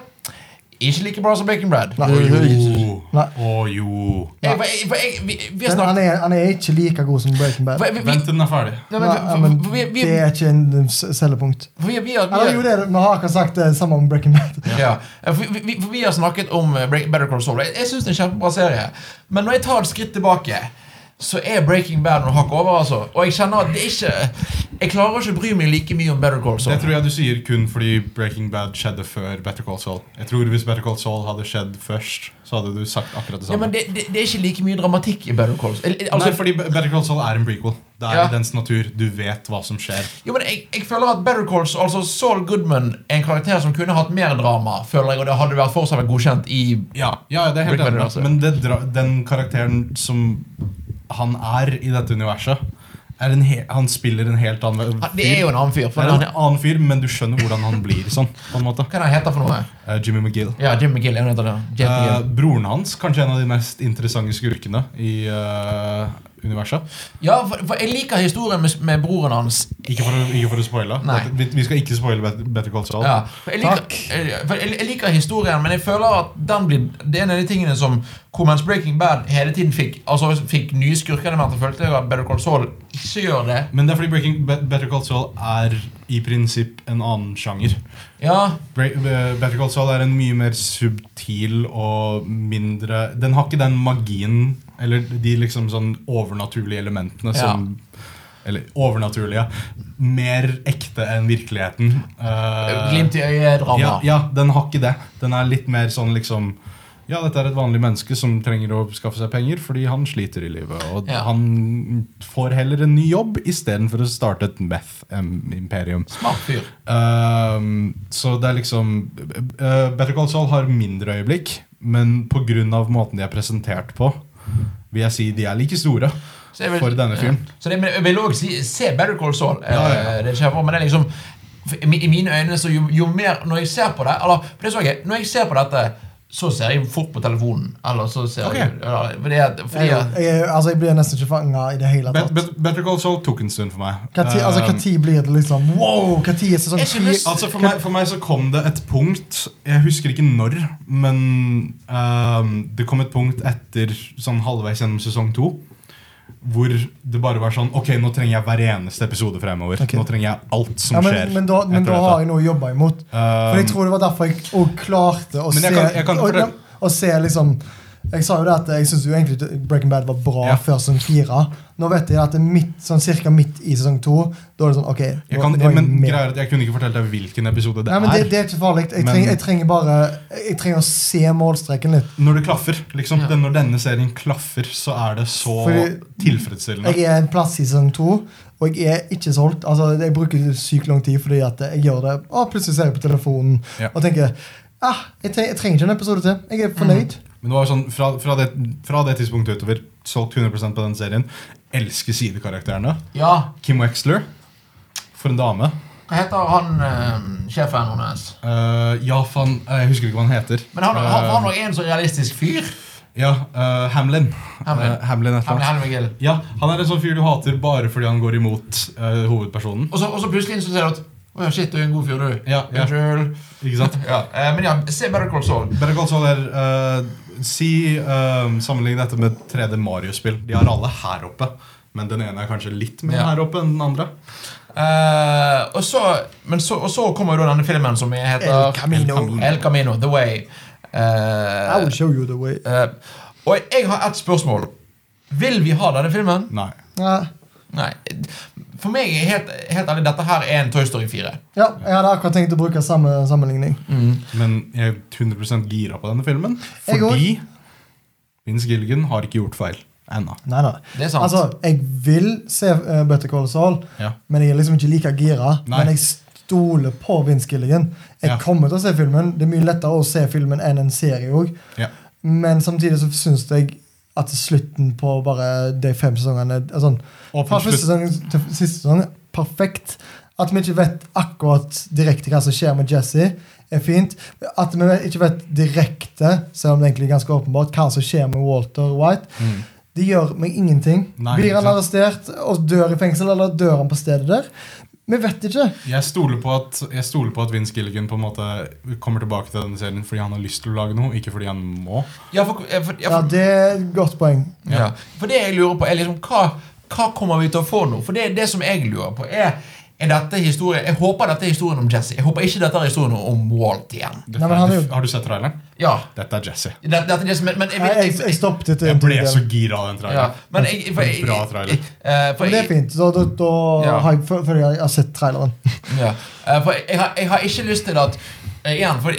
S1: Ikke like bra som Breaking Bad.
S3: Nei.
S2: Å jo.
S3: Nei.
S2: Å jo.
S1: Jeg, jeg, jeg, vi, vi har
S3: Men han
S1: snakket
S3: er, han er ikke like god som Breaking Bad.
S1: vi, vi, vi,
S2: Vent til den er ferdig.
S1: Nei,
S3: Nei, ja,
S1: men,
S3: men
S1: vi, vi, vi, vi,
S3: det er ikke en en s- selgepunkt.
S1: vi, vi, har-
S3: Eller jo, det er det. Vi har akkurat sagt det samme om Breaking Bad.
S1: Ja. For vi, vi, for vi har snakket om eh, Break- Better Call Saul. Jeg, jeg syns det er en kjempebra serie. Men når jeg tar et skritt tilbake, så er Breaking Bad noen hakk over. altså Og jeg kjenner at det ikke Jeg klarer ikke å bry meg like mye om Better Call
S2: Det
S1: Saul.
S2: tror jeg du sier kun fordi Breaking Bad skjedde før Better Call Saul. Jeg tror Hvis Better Call Saul hadde skjedd først, så hadde du sagt akkurat det
S1: Ja,
S2: samme.
S1: men det, det, det er ikke like mye dramatikk i Better Call Saul. Eller- Altså,
S2: Nei, fordi Better Call Saul er en prequel. Det er
S1: Ja.
S2: i dens natur. Du vet hva som skjer.
S1: Jo, men jeg, jeg føler at Better Calls, altså Saul Goodman er en karakter som kunne hatt mer drama, føler jeg, og det hadde vært fortsatt vært godkjent i
S2: Ja, ja det er helt
S1: Breaking Bad
S2: enig.
S1: også.
S2: Men det dra, den karakteren som han er i dette universet er en he Han spiller en helt annen
S1: Han- Det er jo en annen fyr. For
S2: Det er
S1: han
S2: en
S1: er,
S2: annen fyr, men du skjønner hvordan han blir sånn. på en måte
S1: hva er det han heter for noe?
S2: Eh, Jimmy McGill.
S1: Ja, Jim McGill. Jeg heter det. Jet
S2: Eh,
S1: McGill.
S2: broren hans, kanskje en av de mest interessante skurkene i eh, universet.
S1: Ja, for, for jeg liker historien med, med broren hans.
S2: Ikke for å, ikke for å spoile.
S1: Nei.
S2: Vi, vi skal ikke spoile Bet- Better Call Saul.
S1: Ja, for jeg liker,
S3: Takk.
S1: eh, for jeg, jeg liker historien, men jeg føler at den blir, det er en av de tingene som hvor mens Breaking Bad hele tiden fikk Altså fikk nye skurker, men jeg følte jeg at Better Call Saul ikke gjør det.
S2: Men det er fordi Breaking Bet- Better Call Saul er i prinsipp en annen sjanger.
S1: Ja,
S2: Bre- eh, Better Call Saul er en mye mer subtil og mindre Den har ikke den magien eller de liksom sånn overnaturlige elementene som Eller overnaturlige. Mer ekte enn virkeligheten. Eh,
S1: glimt i øyet-drama.
S2: ja, ja, den har ikke det. Den er litt mer sånn liksom Ja, dette er et vanlig menneske som trenger å skaffe seg penger fordi han sliter i livet. Og
S1: Ja.
S2: han får heller en ny jobb istedenfor å starte et meth-imperium.
S1: Smart fyr.
S2: Ehm, så det er liksom eh, Better Call Saul har mindre øyeblikk, men pga. måten de er presentert på, vil jeg si de er like store
S1: Så jeg vil-
S2: for denne fyren.
S1: Så det, men jeg vil også si, se Better Call Saul. eh,
S2: Ja, ja, ja.
S1: Det skjer for, men det er liksom for- I mine øyne så jo, jo mer Når jeg ser på det Eller for det så jeg, når jeg ser på dette, så ser jeg fort på telefonen. Eller så ser
S2: Ok.
S1: jeg eller, fordi at, fordi
S3: Jeg,
S1: at,
S3: jeg, altså, jeg blir nesten ikke fanga i det hele
S2: Bet-
S3: tatt.
S2: Bet- Better Call Saul tok en stund for meg.
S3: Hva tid, altså, hva
S2: Ehm,
S3: tid blir det liksom Wow! Hva tid er sesong
S1: Jeg
S3: fire?
S1: synes-
S2: Altså for meg, for meg så kom det et punkt Jeg husker ikke når, men ehm, det kom et punkt etter sånn halvveis gjennom sesong to. Hvor det bare var sånn Ok, nå trenger jeg hver eneste episode fremover.
S3: Ok.
S2: Nå trenger jeg alt som
S3: Ja, men,
S2: skjer.
S3: men da, men
S2: etter
S3: da
S2: dette.
S3: har jeg noe å jobbe imot. For jeg
S2: Ehm,
S3: tror det var derfor jeg også klarte å
S2: Men
S3: se
S2: jeg kan- jeg kan
S3: å,
S2: fortelle-
S3: å se liksom Jeg sa jo det at jeg syns jo egentlig Breaking Bad var bra
S2: Ja.
S3: før sesong fire. Nå vet jeg at det er midt, sånn cirka midt i sesong to. Da er det sånn OK. Nå,
S2: jeg kan,
S3: nå er jeg
S2: men
S3: med.
S2: greier at jeg kunne ikke fortalt deg hvilken episode det
S3: Nei, men det,
S2: er.
S3: det er ikke farlig. Jeg,
S2: Men-
S3: trenger- jeg trenger bare Jeg trenger å se målstreken litt.
S2: Når det klaffer, liksom
S1: Ja.
S2: den, Når denne serien klaffer, så er det så
S3: Fordi-
S2: tilfredsstillende.
S3: Jeg er en plass i sesong to, og jeg er ikke solgt. Altså, Jeg bruker sykt lang tid fordi at jeg gjør det. Og plutselig ser jeg på telefonen
S2: Ja.
S3: og tenker ah, jeg, tre jeg trenger ikke en episode til. Jeg er fornøyd.
S2: Men det var sånn, fra, fra, det, fra det tidspunktet utover solgt 100 på den serien. Elsker sidekarakterene.
S1: Ja,
S2: Kim Wexler. For en dame.
S1: hva heter han eh, sjefen hennes?
S2: Eh, ja, faen, eh, jeg husker ikke hva han heter.
S1: Men han,
S2: Eh,
S1: han var nok en så realistisk fyr.
S2: Ja, eh, Hamlin.
S1: Hamlin.
S2: Eh, Hamlin et eller
S1: Han,
S2: annet.
S1: han, Miguel.
S2: Ja, han er en sånn fyr du hater bare fordi han går imot eh, hovedpersonen.
S1: og, så, og så plutselig så ser du at Å ja, shit, du er en god fyr, du.
S2: Ja, ja.
S1: Unnskyld.
S2: Ikke sant?
S1: Ja, eh, men ja, se Better Call Saul.
S2: Better Call Saul er eh, Si eh, Sammenlign dette med 3D Mario-spill. De har alle her oppe, men den ene er kanskje litt mer
S1: Ja.
S2: her oppe enn den andre.
S1: Eh, og, så, men så, og så kommer jo da denne filmen som heter
S3: El Eh, Camino.
S1: El Camino, The Way. Eh,
S3: I will show you the way.
S1: eh, og jeg har ett spørsmål. Vil vi ha denne filmen?
S2: Nei.
S3: Ja.
S1: Nei. For meg, er helt, helt ærlig, dette her er en Toy Story 4.
S3: Ja, jeg hadde akkurat tenkt å bruke samme sammenligning.
S2: Men jeg er 100 gira på denne filmen.
S3: Jeg
S2: Fordi Vince Gilligan har ikke gjort feil ennå.
S3: Nei, nei.
S1: Det er sant.
S3: Altså, jeg vil se uh, Better Call Saul,
S2: Ja.
S3: men jeg er liksom ikke like gira.
S2: Nei.
S3: Men jeg stoler på Vince Gilligan. Jeg
S2: Ja.
S3: kommer til å se filmen. Det er mye lettere å se filmen enn en serie òg.
S2: Ja.
S3: Men samtidig så syns jeg at slutten på bare de fem sesongene er sånn, Fra
S2: Åpen
S3: første
S2: slutt.
S3: sesong til siste sesong, perfekt. At vi ikke vet akkurat direkte hva som skjer med Jesse, er fint. At vi ikke vet direkte, selv om det egentlig er ganske åpenbart, hva som skjer med Walter White.
S2: Mm.
S3: Det gjør meg ingenting.
S2: Nei,
S3: Blir han
S2: ikke
S3: arrestert og dør i fengsel, eller dør han på stedet der? Vi vet ikke.
S2: Jeg stoler, på at, jeg stoler på at Vince Gilligan på en måte kommer tilbake til denne serien fordi han har lyst til å lage noe, ikke fordi han må.
S1: Ja, for, ja, for, ja,
S3: Ja,
S1: for,
S3: Det er et godt poeng.
S1: ja. for det jeg lurer på, er liksom hva, hva kommer vi til å få nå? For det, det som jeg lurer på, er er dette historien, Jeg håper dette er historien om Jesse. Jeg håper ikke dette er historien om Walt igjen.
S2: Det,
S3: Nei, men han er jo-
S2: det- har du sett traileren?
S1: Ja,
S2: Dette er Jesse.
S1: dette, dette er det som, men, men jeg,
S3: Jeg,
S1: vil-
S3: jeg, jeg stoppet etter
S2: Jeg
S3: en
S2: ble
S3: tidligere.
S2: så gira av den
S1: ja,
S2: traileren.
S1: men jeg, for, jeg,
S2: Bra trailer.
S1: eh, for
S3: Men det er
S1: jeg,
S3: fint. Da, da, da
S1: Ja.
S3: har jeg, før før jeg har sett traileren.
S1: Ja. eh, For jeg har, jeg har ikke lyst til at eh, Igjen, for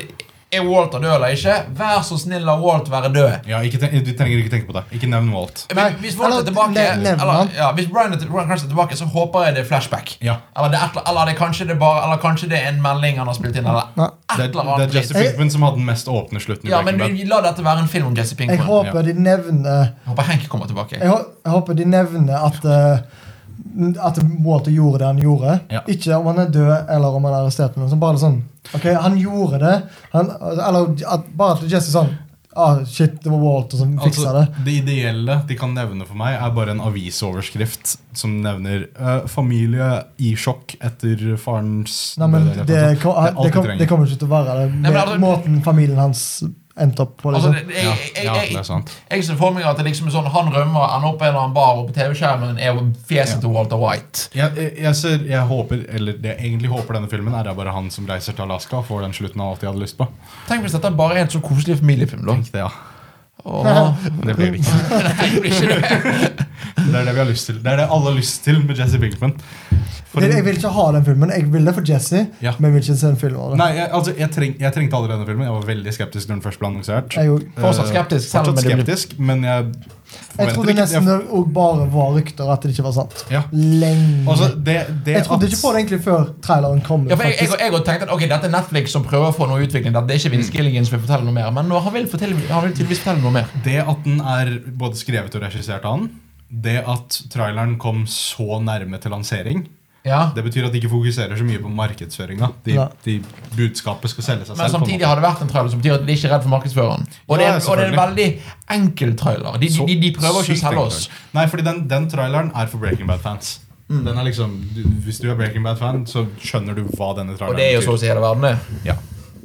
S1: er Walter død eller ikke? Vær så snill, la Walt være død.
S2: Ja, ikke ten du trenger ikke tenke på det. Ikke nevn Walt.
S1: Men
S3: Nei,
S1: hvis Walt er
S3: eller
S1: tilbake,
S3: nev- nevn
S1: eller,
S3: han.
S1: ja, hvis Brian er, til- Brian Cranston er tilbake, så håper jeg det er flashback.
S2: Ja.
S1: Eller, det er et, eller- eller det er kanskje det er bare Eller kanskje det er en melding han har spilt inn. Eller
S3: Nei.
S1: et
S2: Det er,
S1: eller
S2: det
S1: annet
S2: er Jesse
S1: dritt.
S2: Pinkman som hadde den mest åpne slutten. i
S1: Ja, men
S2: Breaking Bad.
S1: vi- La dette være en film om Jesse
S3: Jeg
S1: Pinkman. Jeg
S3: håper de nevner
S1: håper Hank kommer tilbake.
S3: Jeg, hå- jeg håper de nevner at eh, At Walter gjorde det han gjorde.
S2: Ja.
S3: Ikke om han er død eller om han er arrestert. Men bare sånn Ok, han gjorde det. Han, eller at, bare at Jesse sånn ah, Shit, det var Walter som fiksa
S2: Altså, det ideelle de kan nevne for meg, er bare en avisoverskrift som nevner eh, 'Familie i sjokk etter farens
S3: det. Nei, men
S2: død», eller
S3: det,
S2: noe sånt. Det
S3: kom,
S2: er
S3: det,
S2: alt de
S3: kom,
S2: trenger.
S3: det kommer ikke til å være det. Med
S1: men altså-
S3: måten familien hans endte opp på.
S1: Altså,
S3: Liksom.
S1: det, jeg,
S2: Ja,
S1: jeg, jeg,
S2: ja, det
S1: jeg,
S2: er sant.
S1: jeg ser for meg at det liksom er sånn han rømmer, han opp på en eller annen bar, og på TV-skjermen er fjeset
S2: Ja.
S1: til Walter White.
S2: Jeg, jeg, jeg, ser, jeg håper, eller det jeg egentlig håper denne filmen, er det bare han som reiser til Alaska og får den slutten han alltid hadde lyst på.
S1: Tenk hvis dette bare er en så koselig familiefilm, da.
S2: Tenk det, ja.
S1: Åh.
S2: Det blir det ikke.
S1: Nei, det blir ikke det.
S2: Det er det vi har lyst til. Det er det alle har lyst til med Jesse Pinkman. For
S3: Det-
S2: en-
S3: jeg vil ikke ha den filmen. Jeg vil det for Jesse,
S2: Ja.
S3: men jeg vil ikke se en film av det.
S2: Nei, jeg, altså, jeg, treng, jeg trengte aldri denne filmen. Jeg var veldig skeptisk når den først ble annonsert.
S3: Jeg, òg.
S1: Fortsatt
S2: Eh,
S1: skeptisk, selv om
S2: fortsatt
S1: det blir-
S2: skeptisk men jeg
S3: jeg
S2: forventer
S3: trodde
S2: ikke
S3: nesten det òg bare var rykter, at det ikke var sant.
S2: Ja.
S3: Lenge.
S2: Altså, det, det
S3: Jeg trodde ikke på det egentlig før traileren kom.
S1: Ja, for jeg, jeg,
S3: faktisk.
S1: jeg tenkte at ok, dette er Netflix som prøver å få noe utvikling. at Det er ikke Vince Gilligan som vil fortelle noe mer. Men nå, han vil, fortelle, han vil tydeligvis fortelle noe mer.
S2: Det at den er både skrevet og regissert av han, det at traileren kom så nærme til lansering,
S1: Ja.
S2: det betyr at de ikke fokuserer så mye på markedsføringa. De,
S3: Nei.
S2: de budskapet skal selge
S1: Men
S2: seg selv. på en
S1: samtidig har det vært en trailer som betyr at de ikke er redd for markedsføreren. Og det
S2: Ja,
S1: er, og det er en veldig enkel trailer. De,
S2: måte.
S1: de, de prøver ikke å
S2: Sykt
S1: selge oss.
S2: enkelt. Nei, fordi den, den traileren er for Breaking Bad-fans.
S1: Mm.
S2: Den er liksom, du, Hvis du er Breaking Bad-fan, så skjønner du hva denne
S1: Og
S2: traileren
S1: det er jo så å si hele verden, det.
S2: Ja.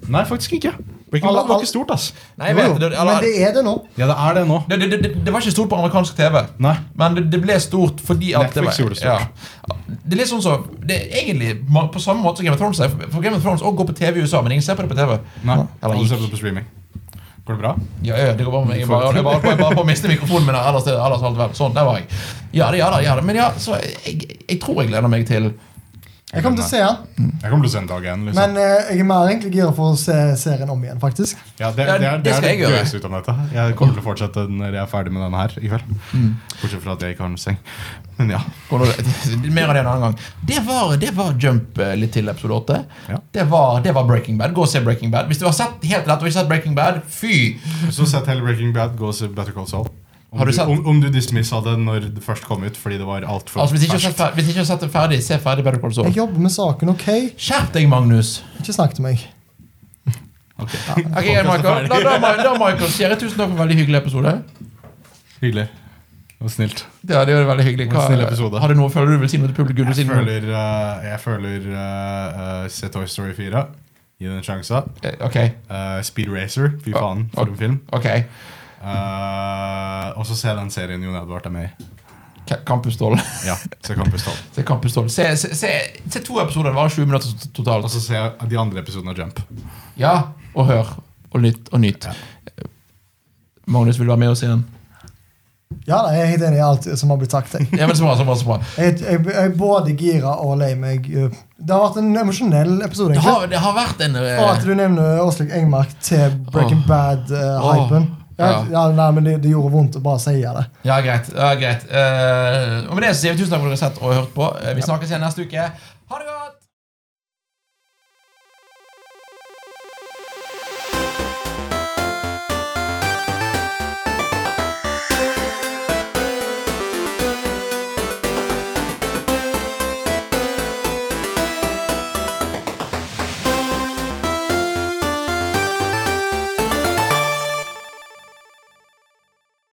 S2: Nei, faktisk ikke. Breaking
S3: Alle-
S2: Bad var
S3: alle-
S2: ikke stort, ass.
S1: Nei, jeg
S3: Jo, jo,
S1: vet det. det-
S3: men
S1: Eller,
S3: det er det nå.
S2: Ja, det er det nå.
S1: det, det, det, det var ikke stort på amerikansk TV.
S2: Nei.
S1: Men det, det ble stort fordi at
S2: Netflix gjorde det
S1: var,
S2: stort.
S1: ja. Det er litt sånn som Det er egentlig ma- på samme måte som Game of Thrones. er, For Game of Thrones også går på TV i USA, men ingen ser på det på TV.
S2: Nei.
S1: Eller
S2: Alle ser
S1: gikk.
S2: på det på streaming. Går det bra?
S1: Ja, ja, det går bra med meg. Jeg bare, jeg bare, jeg bare på å miste mikrofonen min. her, Ellers, ellers alt vel. Sånn, der var jeg. Ja da, ja da. ja da. Men ja, så jeg, jeg tror jeg gleder meg til
S3: Jeg kommer til å se den,
S2: Jeg kommer til å se den dag én. Liksom.
S3: men eh, jeg er mer egentlig gira for å se serien om igjen, faktisk.
S2: ja, det, det,
S1: Ja,
S2: er, det, er
S1: det skal jeg
S2: det
S1: gjøre.
S2: gøyeste ut av dette. Jeg kommer til å fortsette når jeg er ferdig med denne her i kveld.
S1: Mm.
S2: Bortsett fra at jeg ikke har noen seng. Men ja.
S1: Går det- Mer av det en annen gang. Det var, det var Jump eh, litt til episode 8.
S2: Ja.
S1: Det, var, det var Breaking Bad. Gå og se Breaking Bad. Hvis du har sett helt til dette og ikke sett Breaking Bad, fy!
S2: Så sett hele Breaking Bad, gå og se Better Call Saul. Om
S1: Har du sett-
S2: om, om du dismissa det når det først kom ut fordi det var altfor
S1: Altså, hvis ikke du har sett fer- hvis ikke du har sett det ferdig, se ferdig Better Call Saul.
S3: Jeg jobber med saken, OK?
S1: Skjerp deg, Magnus.
S3: Ikke snakk til meg.
S1: Ok, Michael. Da, da, da Michael sier jeg tusen takk for en veldig hyggelig episode.
S2: Hyggelig. Og snilt.
S1: Ja, det var veldig hyggelig.
S2: Det var en snill episode.
S1: har du noe føler du vil si noe til publikum? Du vil si
S2: Jeg
S1: noe-
S2: føler, eh, jeg føler eh, eh, Se Toy Story 4. Gi den en sjanse.
S1: Eh, Ok.
S2: Eh, Speed Racer. Fy faen, for en film.
S1: ok
S2: Eh, og så se den serien Jon Edvard er med i.
S1: Ka- Campusdål.
S2: Ja, se Campus Tall.
S1: Se Campus Tolv. Se, se, se, se to episoder. Det varer 20 minutter tot-
S2: Og
S1: totalt.
S2: så se de andre episodene av Jump.
S1: Ja, og hør. Og lytt og nyt. Magnus vil du være med oss igjen.
S3: Ja, da, jeg er helt enig i alt som har blitt sagt. Jeg,
S1: Ja, men så bra, så bra, så bra.
S3: jeg, jeg, jeg er både gira og lei meg. eh. Det har vært en emosjonell episode.
S1: Det
S3: egentlig.
S1: har, det har vært en eh,
S3: Og at du nevner Åsleik Engmark til Breaking
S1: Åh.
S3: Bad-hypen. ja,
S1: Ja.
S3: ja, nei, men det, det gjorde vondt å bare si det.
S1: Ja, greit. Ja, greit. Eh, og med det så sier vi tusen takk for at dere har sett og hørt på. Eh, vi snakkes igjen neste uke. Ha det